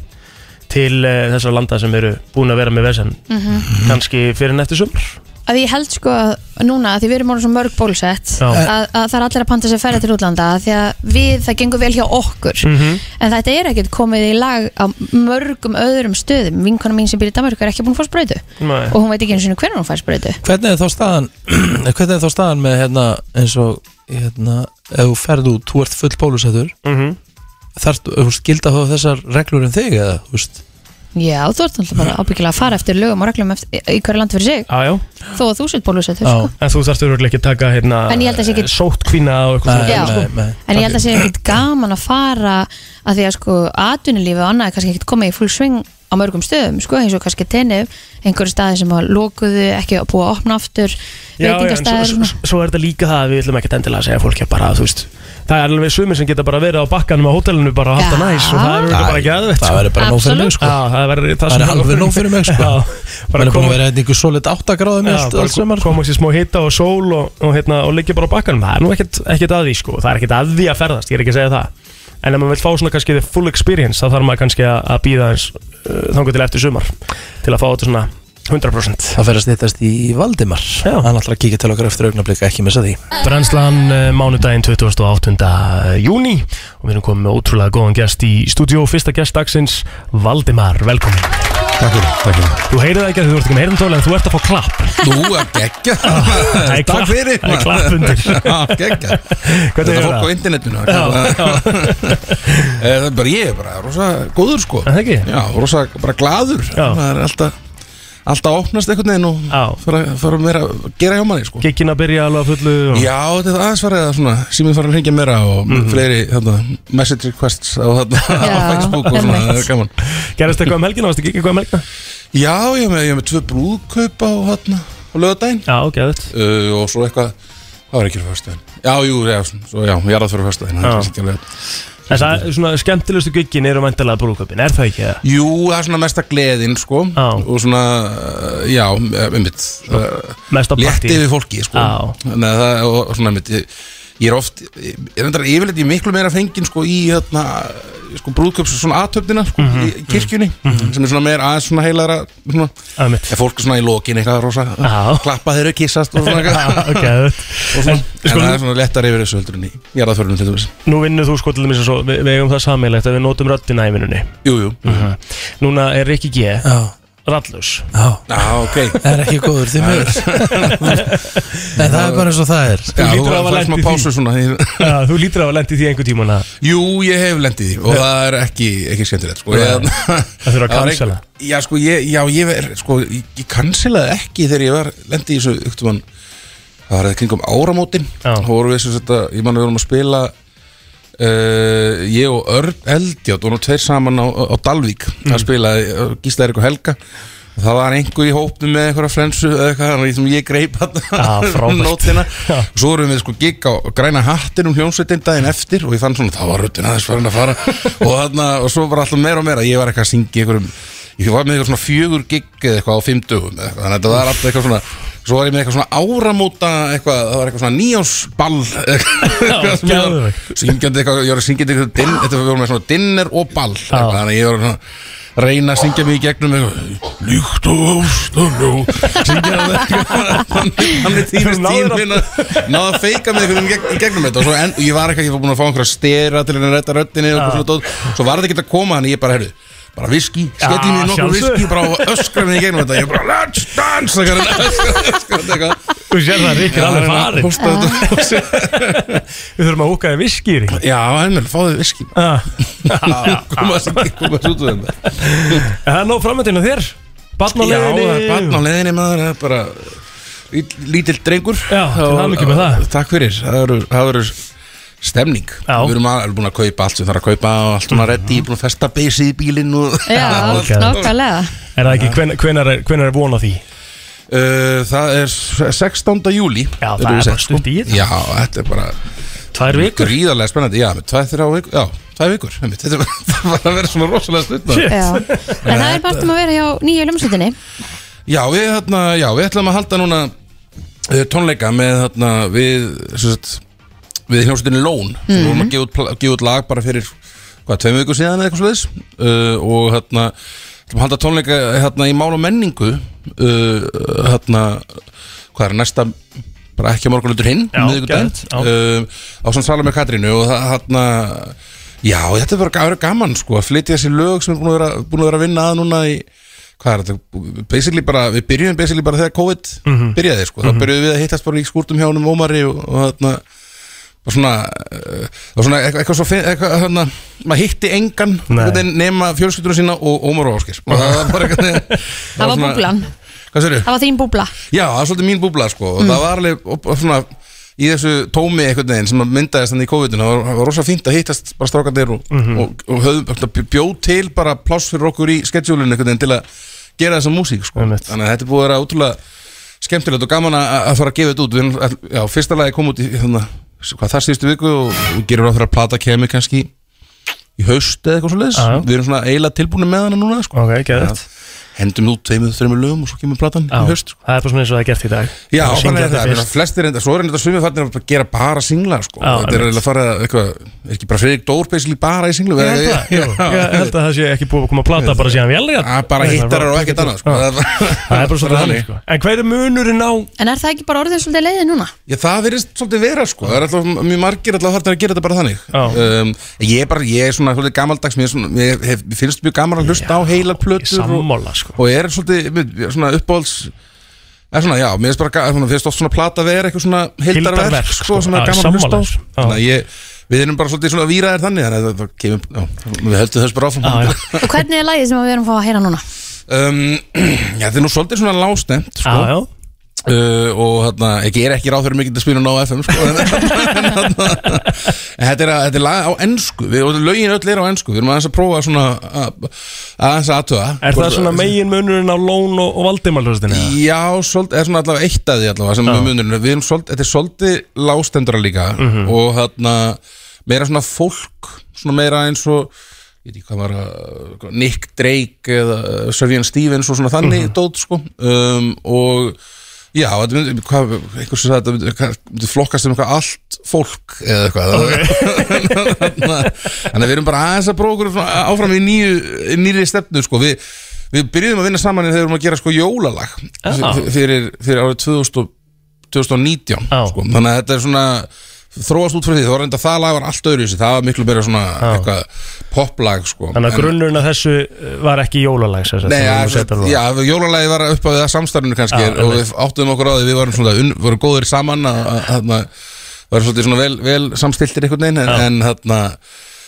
Speaker 3: til uh, þessar landa sem eru búin að vera með vesen
Speaker 2: Mhm.
Speaker 3: kannski fyrir en eftir sumar
Speaker 2: að ég held sko að núna að því við erum orðin svo mörg bólusett
Speaker 3: Já.
Speaker 2: að, að það er allir að panta sér ferði til útlanda af því að við, það gengur vel hjá okkur
Speaker 3: Mhm.
Speaker 2: en þetta er ekkert komið í lag á mörgum öðrum stöðum vinkona mín sem býr í Danmark er ekki búin að fá spröytu
Speaker 4: Nei.
Speaker 2: og hún veit ekki eins og hvernig hún fær spröytu
Speaker 4: Hvernig er þá staðan [clears throat] Hvernig er þá staðan með hérna eins og hérna, ef þú ferð út, þú ert full bólusettur
Speaker 3: mm -hmm.
Speaker 4: Þarft, þú veist, gilda þá þessar reglur um þig eða, þú veist
Speaker 2: já, þú ert alltaf bara ábyggilega að fara eftir lögum og reglum eftir, í hverju land fyrir sig
Speaker 3: ah, já.
Speaker 2: þó að þú sétt bólusettur sko.
Speaker 3: en þú þarfst örugglega ekki að taka hérna,
Speaker 2: En ég held að sé ekki-
Speaker 3: sóttkvína og eitthvað
Speaker 2: Nei,
Speaker 3: svona,
Speaker 2: nei,
Speaker 3: sko.
Speaker 2: en ég held að sé ekkert gaman að fara að því að sko atvinnulífi og annað er kannski ekkert komið í full sving á mörgum stöðum sko eins og kannski tennið einhverju staði sem að lokuðu ekki að búa að opna aftur
Speaker 3: Já, já, en svo,
Speaker 2: veitingastæðir
Speaker 3: svo, svo er þetta líka það að við ætlum ekkert endilega að segja fólki að bara, þú veist Það er alveg sumir sem geta bara verið á bakkanum á hótelinu bara að halda næs og það er
Speaker 4: Já.
Speaker 3: verið bara ekki aðveitt
Speaker 4: Það verður bara nóg fyrir mig, sko.
Speaker 3: Já, það verður
Speaker 4: Það
Speaker 3: sem
Speaker 4: er alveg nóg fyrir mig, sko.
Speaker 3: Já,
Speaker 4: Maður er búin
Speaker 3: koma-
Speaker 4: að vera hérna einhver solid 8 gráðum
Speaker 3: Já,
Speaker 4: allt-
Speaker 3: bara
Speaker 4: allt sko.
Speaker 3: kom- koma sér smá hita og sól og, og, hérna, og liggja bara á bakkanum það er nú ekkert, ekkert að því sko, það er ekkert að því að ferðast ég er ekki að segja það en ef maður vil fá svona kannski the full experience þá þarf maður kannski að, að býða eins uh, þangu til eftir sumar til að fá þetta svona 100%
Speaker 4: Það fer að stýttast í Valdimar Hann ætlar að kíkja til okkar eftir augnablika, ekki missa því
Speaker 3: Brennslan eh, mánudaginn 28. júni eh, og við erum komið með ótrúlega góðan gest í stúdíó fyrsta gest dagsins, Valdimar, velkomin Takk fyrir, takk fyrir Þú heyrið það ekki að þú ert ekki með heyrðum tóla en þú ert að fá klapp
Speaker 1: Þú er
Speaker 3: [laughs]
Speaker 1: geggja
Speaker 3: er klapp-
Speaker 1: Takk fyrir
Speaker 3: það er
Speaker 1: [laughs]
Speaker 3: klapp undir.
Speaker 1: Geggja
Speaker 3: Hvernig
Speaker 1: Þetta
Speaker 3: er
Speaker 1: fólk
Speaker 3: það?
Speaker 1: á internetinu
Speaker 3: Já, [laughs]
Speaker 1: Eh, Það er bara ég, er bara rosa góður sko
Speaker 3: Það ekki?
Speaker 1: Já, rosa bara gladur
Speaker 3: Já.
Speaker 1: Það er alltaf Alltaf að opnast einhvern veginn og fara, fara meira að gera hjá manni sko
Speaker 3: Gekkin að byrja alveg að fullu og...
Speaker 1: Já, þetta er aðeins farið að svona Símið farið að hringja meira og fleiri þarna, message requests á, þarna, á
Speaker 3: Mhm. Já,
Speaker 1: Facebook og svona, það
Speaker 3: einmitt.
Speaker 1: er gaman
Speaker 3: Gerðist eitthvað um helgina, varstu ekki eitthvað um helgina?
Speaker 1: Já, ég er með, ég er með tvö brúðkaupa á, þarna, á lögadaginn
Speaker 3: Já, geðut
Speaker 1: uh, Og svo eitthvað, það var ekki fyrir fyrstu Já, jú, já, svona, svo, já, ég er að fyrir fyrstu
Speaker 3: Já.
Speaker 1: En
Speaker 3: Þess að svona skemmtilegustu giggin eru væntalega brúköpin, er það ekki? eða?
Speaker 1: Jú, það er svona mesta gleðin sko á. og svona, uh, já, einmitt
Speaker 3: mesta
Speaker 1: létti
Speaker 3: partí.
Speaker 1: við fólki sko
Speaker 3: Á.
Speaker 1: Þannig að það, og svona einmitt ég, ég er oft, ég er endara yfirleitt ég er miklu meira fengin sko í hérna, sko brúðköps svona aðtöfnina sko,
Speaker 4: Mhm.
Speaker 1: í kirkjunni, sem er svona meira aðeins svona heilara, svona,
Speaker 3: en
Speaker 1: fólk er svona í lokin eitthvað rosa,
Speaker 3: á.
Speaker 1: klappa þeirra kissast
Speaker 4: [laughs]
Speaker 1: og svona
Speaker 3: Á, geðveikt.
Speaker 1: og svona,
Speaker 3: En,
Speaker 1: en,
Speaker 3: sko,
Speaker 1: það er svona lettar yfir þessu heldur en í jarðaförunum til þess
Speaker 3: Nú vinnur þú sko til dæmis eins og við, við eigum það sammeilegt að við notum röddina í vinnunni Mhm.
Speaker 1: Jú, jú
Speaker 3: Núna er Rikki G Rallus
Speaker 4: Já,
Speaker 3: [laughs]
Speaker 1: ok
Speaker 4: Það er ekki góður, því miður
Speaker 1: [laughs]
Speaker 4: En það er bara eins og það er
Speaker 1: Já, þú fær smá pásu svona
Speaker 3: Já, þú lítur að hafa lent í því einhver
Speaker 1: [laughs]
Speaker 3: tíma
Speaker 1: Jú, ég hef lent í því og það er ekki, ekki skemmtilegt sko. Ég- [laughs]
Speaker 3: Það þurfa að
Speaker 1: var
Speaker 3: cancela.
Speaker 1: ein- Já, sko, ég, já, ég, ver, sko, ég, ég cancelaði ekki þegar ég var lendi í þessu yktumann Það var það kringum áramótin Þá vorum við sem sagt að, ég man að við vorum um að spila uh, Ég og Örn Eldjátt vorum tveir saman á, á Dalvík að spila uh, Gísla Erik og Helga Það var einhver í hópnum með einhverja flensu eða eitthvað, þannig sem ég greip hann
Speaker 3: Já, frábært.
Speaker 1: nótina og [laughs] svo vorum við sko gigg á græna hattin um hljómsveitin daginn eftir og ég fann svona, það var röddin aðeins farin að fara og, þarna, og svo var alltaf meira og meira ég var eitthvað að syngja einhverjum ég var með eitthvað svona fjögur gigg eða eitthvað á fimm dögum eða eitthvað, þannig að þetta var alltaf eitthvað svona svo var ég með eitthvað svona áramóta eitthvað, það var eitthvað svona nýjósball eitthvað sem ég var- syngjandi eitthvað, ég var að syngja eitthvað din, þetta var með svona dinner og ball eitthvað, þannig að ég var svona reyna að syngja mig í gegnum eitthvað, líkt og ástan og syngja það eitthvað þannig tímist tímin að náða að feika mig einhvern veginn gegn, í gegnum þetta og svo en, og ég var eitthvað, ég var búin að fá einhverja stera til henni að retta röddinni og eitthvað svona dót svo var þetta ekki að koma hann, ég bara, herru bara viski, skelli
Speaker 3: Já,
Speaker 1: mér nokkur
Speaker 3: sjálfsögðu.
Speaker 1: viski bara og öskra mig í gegnum þetta ég bara, let's dance það [laughs]
Speaker 3: Þú sér það, Rík er
Speaker 1: hérna.
Speaker 3: alveg farin
Speaker 1: Við
Speaker 3: þurfum að óka þið viski, Rík
Speaker 1: [laughs] Já, heimil, fáðu [laughs] viski
Speaker 3: Ah,
Speaker 1: Koma þessi út úr þetta
Speaker 3: En það er nóg framöndinu þér Barn á leiðinni
Speaker 1: Já, það er barn á leiðinni maður Það er bara lít- lítill drengur Já,
Speaker 3: til hamingju með það.
Speaker 1: Takk fyrir, það verður- það verður stemning Já. Mhm. Við erum alveg búin að kaupa allt sem þarf að kaupa og allt svona reddi, búin að festa beisið í bílinn og
Speaker 2: Já, nákvæmlega
Speaker 3: Er það ekki, hven- hvenar er, hvenar er von á því?
Speaker 1: Uh, það er s- 16. júli Já,
Speaker 3: það er bara stutt í þetta.
Speaker 1: Já, þetta er bara
Speaker 3: Tvær vikur?
Speaker 1: Gríðarlega spennandi, já, með tvær, þrjá vikur Já, tvær vikur, einmitt. [laughs] þetta var það var að vera svona rosalega stutt maður.
Speaker 2: Já. En það er bara um að vera hjá nýju ljómsveitinni
Speaker 1: Já, við, þarna, já, við ætlum að halda núna uh, tónleika með þarna, við, sem sagt, við hljómsveitinni Lón mm
Speaker 12: Mhm.
Speaker 1: sem vorum að gefa út, pla- gefa út lag bara fyrir hvað, tveim viku síðan eða eitthvað svo þess uh, og þarna, ætlum að halda tónleika þarna, í mál og menningu uh, þarna, hvað er næsta bara ekki að morgunlutur hinn
Speaker 3: Já,
Speaker 1: miðvikudaginn,
Speaker 3: geðveikt, já.
Speaker 1: uh, á svona sala með Katrínu og það þarna Já, þetta er bara ga- verið gaman sko að flytja þessi lög sem er búin að vera, búin að, vera að vinna að núna í hvað er þetta, basically bara við byrjum basically bara þegar COVID
Speaker 12: Mhm.
Speaker 1: byrjaði sko,
Speaker 12: Mhm.
Speaker 1: þá byrjuðum við að hittast bara í skúrtum hjá honum Ómari og, og þarna og svona, uh, og svona eitthvað, eitthvað svo finn- eitthvað, þarna, maður hitti engan
Speaker 12: Nei.
Speaker 1: einhvern veginn nema fjölskyldurinn sína og Ómar og Áskir og það var bara eitthvað
Speaker 2: Það var
Speaker 1: svona-
Speaker 2: búblan
Speaker 1: Hvað sérðu?
Speaker 2: Það var þín búbla
Speaker 1: Já, það er svolítið mín búbla sko og
Speaker 2: Mm.
Speaker 1: það var alveg og, og svona í þessu tómi einhvern veginn sem að myndaðist þannig í COVID-19 það var, það var rosa fínt að hittast bara strákandir og,
Speaker 12: Mhm.
Speaker 1: og, og höfðum bjóð til bara pláss fyrir okkur í schedule-inu einhvern veginn til að gera þessa músík sko þannig að þetta er búið að vera útrúlega skemmtilegt og gaman að, að fara að gefa þetta út Við erum all- já, fyrsta lagi kom út í þannig, hvað þar síðustu viku og, og gerum ráð fyrir að plata kemi kannski í haust eða eitthvað svo
Speaker 3: Já, já.
Speaker 1: við erum svona eiginlega tilbúinu með hana núna sko.
Speaker 3: Ok, geðvægt.
Speaker 1: hendum út tveimur, þreimur lögum og svo kemur platan
Speaker 3: Já,
Speaker 1: í haust sko.
Speaker 3: það er bara svona eins og það er gert í dag
Speaker 1: Já,
Speaker 3: Bara
Speaker 1: þannig
Speaker 3: syngja
Speaker 1: að það
Speaker 3: þetta
Speaker 1: er
Speaker 3: fyrst.
Speaker 1: meina, flestir enda, svo er þetta sumið fannir að gera bara singla, sko
Speaker 3: Já,
Speaker 1: Þetta er eiginlega
Speaker 3: einmitt.
Speaker 1: að fara, eitthvað, er ekki bara Fredrik Dór basically bara í singlu [laughs]
Speaker 3: Ég held það, jú. Ég held að það sé ekki búið að koma að plata bara síðan vel
Speaker 1: Bara hittarar og ekkert annað, sko
Speaker 3: Já. Það er bara svona þannig, sko. En hver er munurinn á
Speaker 2: En er það ekki bara orðið svolítið leiðið núna?
Speaker 1: Já, það verðist svolítið vera sko Það er alltaf mjög margir alltaf hartar að gera þetta bara þannig um, Ég er bara, ég er svona svolítið gamaldags Mér, er svona, mér hef, mér finnst mjög gaman að hlusta á heilar plötur
Speaker 3: sammála, sko.
Speaker 1: og, og er svolítið, mér- ég er svona uppáhalds Er svona, já, mér finnst bara ga- svona, finnst oft svona plata að vera eitthvað svona
Speaker 3: Heildarverk,
Speaker 1: heildarverk sko,
Speaker 3: sko.
Speaker 1: sem er
Speaker 3: Já,
Speaker 1: gaman að hlusta á
Speaker 3: sammála þessu. Já.
Speaker 1: Þannig að ég, við erum bara svolítið svona víraðir þannig Þannig að það- það kemur, já, við höldum þess bara áfram já, já.
Speaker 3: Sko?
Speaker 2: Og hvernig er lagið sem við erum að fá að heyra núna?
Speaker 1: Um, [clears throat] já, þetta er nú svolítið svona lástemt sko.
Speaker 3: Já, já.
Speaker 1: Uh, og þarna, ég er ekki ráð fyrir mikið að spila hún á FM sko, en, [laughs] en, þarna, en þetta er, að- þetta er lag á ennsku við, og lögin öll er á ennsku, við erum aðeins að prófa svona að- aðeins að aðtöða
Speaker 3: Er það svona megin munurinn á Lón og, og Valdimar hlustinu?
Speaker 1: Já, svolítið, er svona allavega eitt að því allavega sem
Speaker 3: Já.
Speaker 1: við munurinn, við erum svolítið, þetta er svolítið lástendra líka
Speaker 3: Mhm.
Speaker 1: og þarna meira svona fólk svona meira eins og ég veit ekki hvað var að- Nick Drake eða uh, Savian Stevens og svona þannig
Speaker 12: Mhm.
Speaker 1: dót sko um, og já, þetta myndi, hvað, einhvers sem sagði þetta myndi, hvað- myndi flokkast sem eitthvað allt fólk eða eitthvað [laughs] þannig að við erum bara aðeins að prófa okkur svona áfram í nýju, í nýri stefnu sko við Við byrjuðum að vinna saman þegar við vorum að gera sko jólalag
Speaker 3: Ah.
Speaker 12: Já.
Speaker 1: fyrir, fyrir árið 2000, og- 2019
Speaker 3: Ah.
Speaker 1: sko. þannig að þetta er svona þróast út frá því, það var reynda það lag var allt öðru það var miklu meira svona eitthvað poplag sko.
Speaker 3: Ah. Þannig að
Speaker 1: En-
Speaker 3: grunnurinn að þessu eh, var ekki jólalags
Speaker 1: Nei, ja, já, jólalagi var upp á því að samstarfinu kannski
Speaker 3: Já,
Speaker 1: er, og við áttum okkur á því, við varum svona un, vorum góðir saman að að- þarna varum svolítið svona vel, vel samstiltir einhvern veginn en, en þarna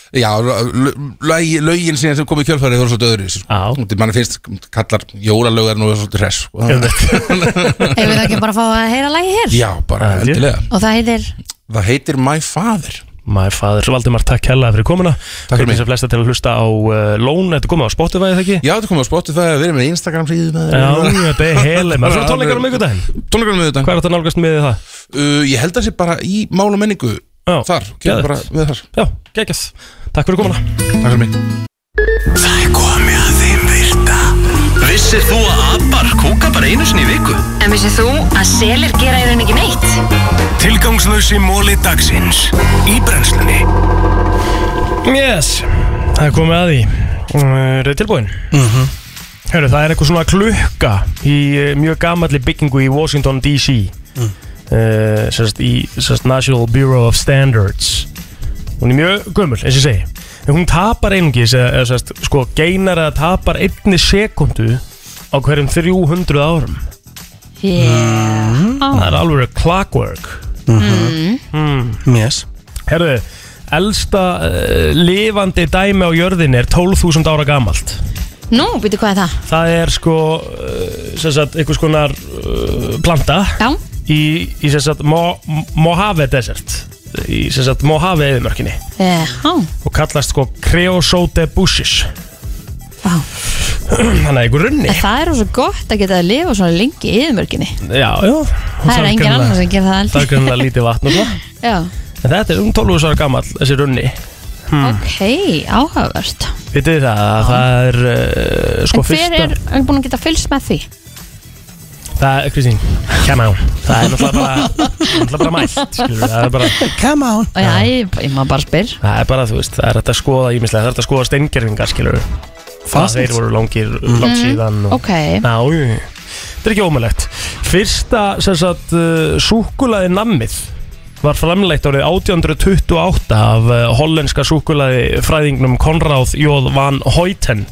Speaker 1: Já, lög, lögin síðan sem kom í kjölfærið voru svolítið öðru sko. mann finnst kallar jólalög er nú svolítið hress sko.
Speaker 2: Eigum við ekki bara að fá að heyra lagið hér?
Speaker 1: [laughs] Já, bara endilega
Speaker 2: Og það heitir
Speaker 1: Það heitir My Father
Speaker 3: My Father, Valdimar, takk hella fyrir komuna Takk fyrir mig Hvernig flesta til að hlusta á uh, Lón, þetta er komið á Spotify eða ekki?
Speaker 1: Já, þetta komið á Spotify, við erum með Instagram síðu
Speaker 3: Já, þetta er
Speaker 1: [laughs]
Speaker 3: heilum Það er tónleikar á miðgudaginn
Speaker 1: Tónleikar á miðgudaginn
Speaker 3: Hvað er þetta nálgast með það?
Speaker 1: Uh, ég held að sé bara í mál og menningu
Speaker 3: Já,
Speaker 1: Þar, kemur bara
Speaker 3: geðveikt.
Speaker 1: með þar
Speaker 3: Já, geggjast Takk fyrir komuna
Speaker 1: Takk fyrir mig
Speaker 4: Það er komið að þeim virta Vissir þú að abar kúka bara einu sinni í viku?
Speaker 13: En vissið þú að selir gera í raun ekki neitt?
Speaker 4: Tilgangslösi móli dagsins Í brennslunni
Speaker 3: Yes, það er komið að því Rauð tilbúin
Speaker 1: Mhm.
Speaker 3: Hörru, það er eitthvað svona klukka í eh, mjög gamalli byggingu í Washington DC mm.
Speaker 1: Mm.
Speaker 3: sérst, í sérst, National Bureau of Standards Hún er mjög gömul, eins og ég segi En hún tapar einungis, eða, eða sérst, sko, geinar að tapar einni sekundu á hverjum 300 árum
Speaker 2: Yeah.
Speaker 3: Það er alveg clockwork
Speaker 2: Mm.
Speaker 3: mm.
Speaker 1: Yes
Speaker 3: Herðu, elsta uh, lifandi dæmi á jörðinni er 12.000 ára gamalt
Speaker 2: Nú, býtu hvað er það?
Speaker 3: Það er sko uh, sem sagt, einhvers konar uh, planta
Speaker 2: Já.
Speaker 3: í, í sem sagt, Mo Mojave Desert í sem sagt, Mojave eðumörkinni
Speaker 2: Yeah.
Speaker 3: og kallast sko Creosote bushes
Speaker 2: Vá.
Speaker 3: Þannig að einhver runni
Speaker 2: Það er svo gott að geta að lifa svona lengi í yðmörginni
Speaker 3: Já, já
Speaker 2: Það er engin
Speaker 3: greinilega-
Speaker 2: annar sem gerir það heldur.
Speaker 3: Það er grunna lítið vatn og það
Speaker 2: Já,
Speaker 3: En þetta er um 12 ára gamall, þessi runni hmm.
Speaker 2: ok, áhugavert
Speaker 3: Vitið þið það, að það er uh, sko
Speaker 2: En hver
Speaker 3: fyrsta
Speaker 2: er, er búin að geta fylgst með því?
Speaker 3: Það er, Kristín, come on Það er náttúrulega bara, náttúrulega bara mælt skilur, Það er bara
Speaker 1: Come on
Speaker 2: Já, ég, ég maður bara spyr
Speaker 3: Það er bara, þú veist, það er hægt að skoða ímislega, það er hægt að skoða steingerfingar, skilur Það
Speaker 2: Fast.
Speaker 3: þeir voru langir, langt
Speaker 2: Mhm,
Speaker 3: síðan og...
Speaker 2: ok.
Speaker 3: Já, jú, jú. þetta er ekki ómulegt Fyrsta, sem sagt, uh, súkulaði nammið var framleitt árið 1828 af uh, hollenska súkulaði fræðingnum Konráð Jóð van Hoyten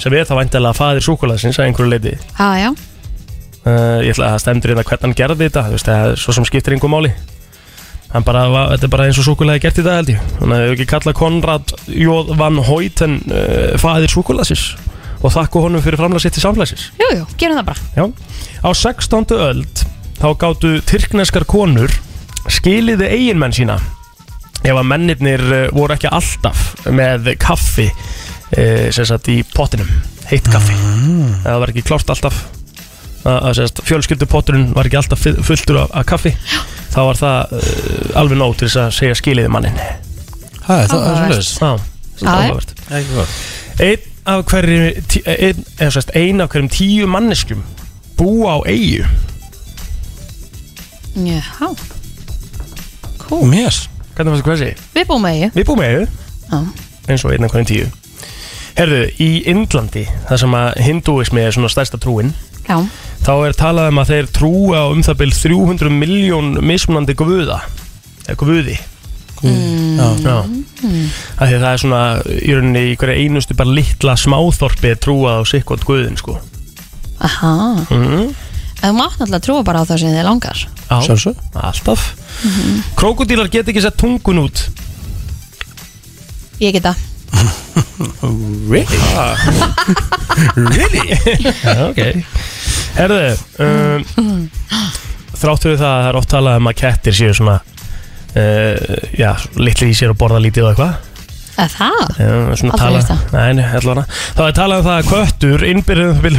Speaker 3: sem er það væntalega faðir súkulaðsins að einhverju leiti
Speaker 2: Já, já,
Speaker 3: uh, ég ætla að það stendur hérna hvernig hann gerði þetta þú veist, það er svo sem skiptir einhver máli hann bara, var, þetta er bara eins og súkulega gert í dag held ég, hann hefur ekki kallað Konrad Jóð van Hoyten uh, faðir súkulaðsins og þakku honum fyrir framlega sitt til samflæsins
Speaker 2: jú, jú, gerum það bara
Speaker 3: Já. á 16. öld þá gáttu tyrkneskar konur skiliði eiginmenn sína ef að mennirnir eh, voru ekki alltaf með kaffi eh, sem sagt í pottinum heitt kaffi mm. það var ekki klárt alltaf að, að sérst, fjölskyldupotturinn var ekki alltaf fu- fulltur af, af kaffi þá var það uh, alveg nóg til þess að segja skiliði mannin
Speaker 1: Það er það er svoleiðis.
Speaker 3: Já,
Speaker 1: Já, já.
Speaker 3: áhugavert.
Speaker 1: Ekki gott.
Speaker 3: Einn af hverjum tí- einn, eða sérst, ein af hverjum tíu manneskjum búa á eigu
Speaker 2: Já,
Speaker 1: Cool Mér
Speaker 3: Hvernig fannst þú hvað þessi?
Speaker 2: við búum með ég
Speaker 3: Við búum með
Speaker 2: Já.
Speaker 3: eigu eins og einn af hverjum tíu Herðu, í Indlandi, þar sem að hinduismi er svona stærsta trúin
Speaker 2: Já,
Speaker 3: þá er talað um að þeir trúa á um það byrj 300 miljón mismunandi guða eða guði Já. Já. Af því að það er svona í rauninni í hverja einustu bara litla smáþorpi er trúað á sikkot guðin sko
Speaker 2: aha
Speaker 3: mm.
Speaker 2: En þú mátt náttúrulega trúa bara á það sem þið langar
Speaker 3: Sjálfsög Alltaf Krokodílar get ekki sett tungun út
Speaker 2: Ég geta
Speaker 3: Really? really? [laughs] Já, ok Herðu um, Þrátt fyrir það að það er oft talað um að kettir séu svona uh, Já, litli í sér og borða lítið og eitthvað
Speaker 2: Eða það?
Speaker 3: Já, svona
Speaker 2: Aldrei
Speaker 3: tala
Speaker 2: heyrt það.
Speaker 3: Nei, nei, allavega Það er talað um það að köttur um innbyrðum vil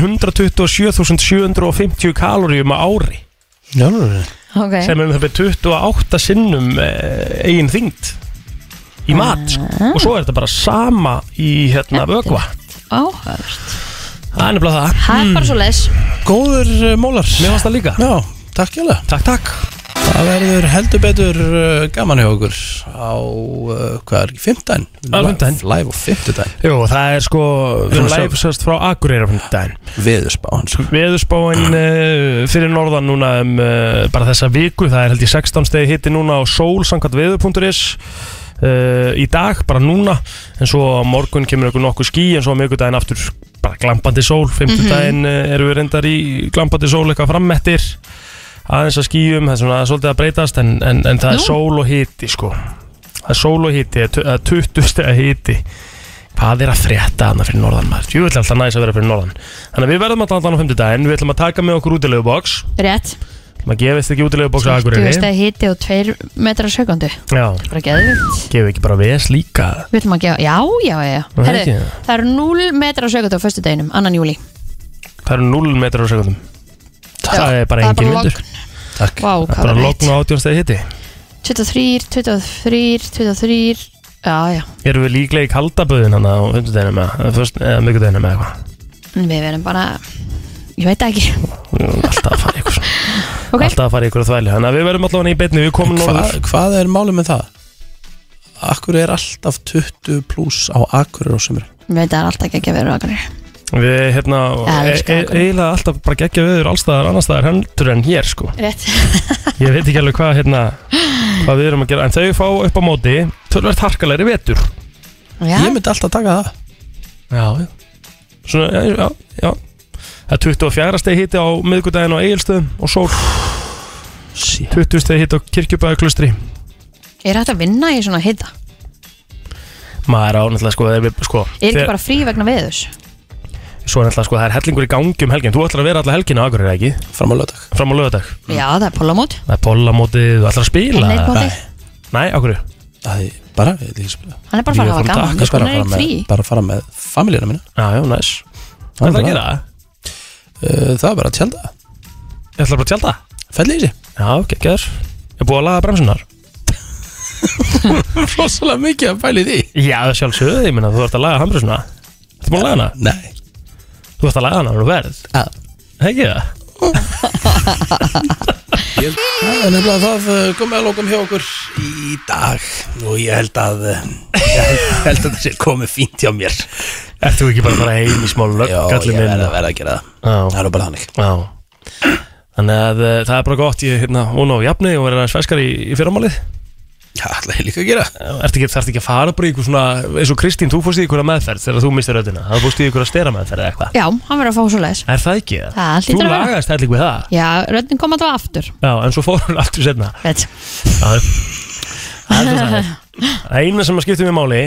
Speaker 3: 127.750 kaloríum á ári
Speaker 1: Já, nú er
Speaker 2: Ok
Speaker 3: sem er um það vil 28 sinnum eh, eigin þyngd í mat sko.
Speaker 2: Ah.
Speaker 3: og svo er þetta bara sama í hérna vögva
Speaker 2: Áhugavert
Speaker 3: Það er nefnilega það
Speaker 2: Það er bara svo les
Speaker 1: Góður uh, mólar
Speaker 3: Mér fannst það líka
Speaker 1: Já, takk hjá
Speaker 3: Takk, takk
Speaker 1: Það verður heldur betur uh, gaman hjá okkur á, uh, hvað er ekki, 15?
Speaker 3: Á fimmtudaginn.
Speaker 1: Live á 15
Speaker 3: Jú, það er sko Við erum
Speaker 1: Svona sjá-
Speaker 3: live sérst frá Akureyra fyrir daginn
Speaker 1: Veðurspán sko.
Speaker 3: Veðurspáin uh, fyrir norðan núna um uh, bara þessa viku, það er held ég 16 stegi hitti núna á sol.veður.is uh, í dag, bara núna en svo á morgun kemur okkur nokkuð ský en svo á miðgudaginn aftur bara glampandi sól, 50 daginn uh, erum við reyndar í glampandi sól eitthvað frammettir aðeins að skýjum, það er svona svolítið að breytast en, en, en það er
Speaker 1: Nú.
Speaker 3: sól og hiti sko það er sól og hiti, það er 20 stegi hiti hvað er að frétta hana fyrir norðan maður ég vil alltaf næs að vera fyrir norðan þannig að við verðum alltaf hann á 5. daginn við ætlum að taka með okkur útilegubóks
Speaker 2: Rétt
Speaker 3: maður gefist ekki útilegubóks á
Speaker 2: Þú veist
Speaker 3: Akureyri
Speaker 2: að hiti og tveir metrar á sekundu
Speaker 3: já
Speaker 2: Bara geðvikt
Speaker 3: gefum við ekki bara ves líka
Speaker 2: Við ætlum að gefa, já, já, já, já.
Speaker 3: Það er
Speaker 2: Herri,
Speaker 3: ekki.
Speaker 2: það eru 0 metrar á sekundu á förstu deginum, annan júli
Speaker 3: það eru 0 metrar á sekundum það er
Speaker 2: það
Speaker 3: bara
Speaker 2: er
Speaker 3: engin
Speaker 2: bara
Speaker 3: vindur
Speaker 1: Takk.
Speaker 2: Vá,
Speaker 3: það
Speaker 2: hvað
Speaker 3: er bara
Speaker 2: var
Speaker 3: logn og átjónstæði hitti
Speaker 2: 23, 23, 23 Já, já,
Speaker 3: erum við líklega í kaldaböðin hann á 5. daginn eða mikudaginum eða eitthvað
Speaker 2: En við verðum bara Ég veit það ekki
Speaker 3: Við erum alltaf að fara í ykkur
Speaker 2: [laughs] Ok.
Speaker 3: alltaf að fara í ykkur þvæli þannig að við verðum alltaf í beinni við komum
Speaker 1: Hva,
Speaker 3: norður
Speaker 1: Hvað er málið með það? Akkur er alltaf 20 pluss á akkur á sumri
Speaker 2: Við veitum að það er alltaf ekki að vera okkur
Speaker 3: Við, hérna,
Speaker 2: Já, við
Speaker 3: e-
Speaker 2: elskum
Speaker 3: e-
Speaker 2: okkur.
Speaker 3: eiginlega alltaf bara geggja viður allstaðar annarstaðar hendur en hér, sko
Speaker 2: Rétt
Speaker 3: Ég veit ekki alveg hvað, hérna, hvað við erum að gera En þau fá upp á móti, tölvært harkalegri vetur
Speaker 2: Já.
Speaker 1: Ég myndi alltaf taka það
Speaker 3: Já, já Svona, já, já, já Það er 24 steg hitti á miðgudaginn á Egilstöðum og sól 20 steg hitti á kirkjubæðuklustri
Speaker 2: Er hægt að vinna í svona hita?
Speaker 3: Maður á náttúrulega sko, þegar við- sko
Speaker 2: Er ekki
Speaker 3: þegar-
Speaker 2: bara frí vegna veðurs?
Speaker 3: Svo er náttúrulega sko, það er hellingur í gangi um helgin Þú ætlar að vera alla helgin á Akureyri, ekki?
Speaker 1: Fram á lögadag
Speaker 3: Fram á lögadag
Speaker 2: Já, það er pólamót
Speaker 3: Það er pollamótið, þú ætlar að spila
Speaker 2: En leikmótið?
Speaker 3: Nei, Nei Akureyri
Speaker 1: Það er bara, ég vil ekki spila
Speaker 2: Hann er bara að fara að hafa gaman,
Speaker 1: Ég er
Speaker 2: sko,
Speaker 1: bara
Speaker 2: hann
Speaker 1: að fara
Speaker 2: er í frí.
Speaker 1: með, bara að fara með familíuna mína
Speaker 3: Já, já, næs Hvað er það að gera?
Speaker 1: Uh, það er bara að tjálta
Speaker 3: Ég ætlar bara að tjálta
Speaker 1: Fell í þessi
Speaker 3: Já, geggjör Ég er búið að laga bremsunar
Speaker 1: Rosalega mikið að pæli því
Speaker 3: Já, það sjálfsögðu, ég meina, þú ert að laga handbremsuna Ertu búin að laga hana?
Speaker 1: Nei
Speaker 3: Þú ert að laga hana, þú verð
Speaker 1: Já
Speaker 3: Ekki það?
Speaker 1: Það er nefnilega það uh, komið að lókum hjá okkur í dag og ég held að uh, ég held, held að það sé komið fínt hjá mér
Speaker 3: Ert þú ekki bara að fara heim í smá lögg,
Speaker 1: Já,
Speaker 3: kallinn
Speaker 1: ég
Speaker 3: minn?
Speaker 1: verð að verða að gera það
Speaker 3: Já.
Speaker 1: Það er bara þannig
Speaker 3: Já Þannig að uh, það er bara gott, ég hérna, hún á jafni og verður aðeins feskar í, í fyrramálið
Speaker 1: Já, alltaf ég líka að gera
Speaker 3: Ertu ekki, þarftu ekki að fara bara í ykkur svona eins og Kristín, þú fórst í ykkur meðferð þegar þú mistir röddina þá fórst í ykkur að stera meðferð eða eitthvað
Speaker 2: Já, hann verður að fá svo leiðis
Speaker 3: Er það ekki það?
Speaker 2: Það hlýtur að
Speaker 3: Þú
Speaker 2: vera.
Speaker 3: lagaðist helling við það
Speaker 2: Já, röddin kom alltaf aftur
Speaker 3: Já, en svo fór hún aftur setna
Speaker 2: Rétt
Speaker 3: Það er það [laughs] er svo þannig. Það eina sem að skipta mér máli,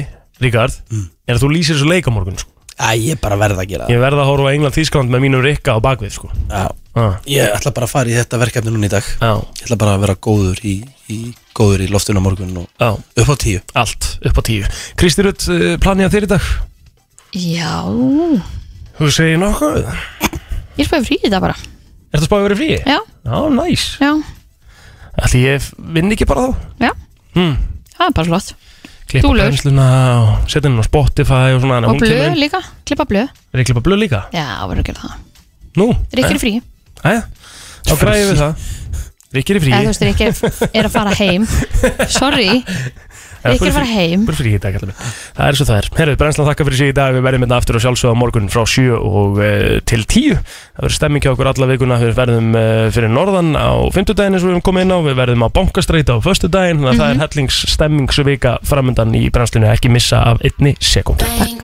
Speaker 3: Ríkard er að þú lýsir þessu leik á morgun sko.
Speaker 1: Æ, ég bara verða að gera það
Speaker 3: Ég verða að horfa á England Þískland með mínum Rikka á bakvið sko.
Speaker 1: Já,
Speaker 3: Ah.
Speaker 1: Ég ætla bara að fara í þetta verkefni núna í dag
Speaker 3: Já.
Speaker 1: Ég ætla bara að vera góður í, í, góður í loftinu á morgun og
Speaker 3: Já.
Speaker 1: upp á tíu
Speaker 3: Allt upp á tíu Kristi Rutt, eh, planið að þér í dag
Speaker 2: Já,
Speaker 3: Þú segir nokkuð
Speaker 2: ég spæði frí í þetta bara
Speaker 3: Er það spáðið verið frí?
Speaker 2: Já,
Speaker 3: Já, næs
Speaker 2: já,
Speaker 3: Ætli ég vinn ekki bara þá
Speaker 2: já,
Speaker 3: hmm.
Speaker 2: það er bara flott
Speaker 3: Klippa
Speaker 2: Dúlur.
Speaker 3: pensluna og setja henni á Spotify og svona
Speaker 2: Og
Speaker 3: þannig að hún kemur
Speaker 2: blöð
Speaker 3: inn.
Speaker 2: líka, klippa blöð
Speaker 3: Er ég klippa blöð líka?
Speaker 2: Já, verður að gera það
Speaker 3: Nú? Eh?
Speaker 2: Rikki er í frí
Speaker 3: Æja, þá græðum við það Rikki er í frí
Speaker 2: Eða þú veist, Rikki er- er að fara heim Sorry, Rikki er að fara heim
Speaker 3: Búið frí í dag, kallar mig Það er svo það er Herðu, brennslan þakka fyrir sig í dag Við verðum hérna aftur og sjálfsögða morgun frá 7 og e, til 10 Það verður stemming hjá okkur alla vikuna Við verðum e, fyrir norðan á 50 daginn eins og við erum komið inn á Við verðum á bankastræti á föstu daginn Þannig að það er hellingsstemming svo vika framöndan í brennslinu Ekki missa af einni sekund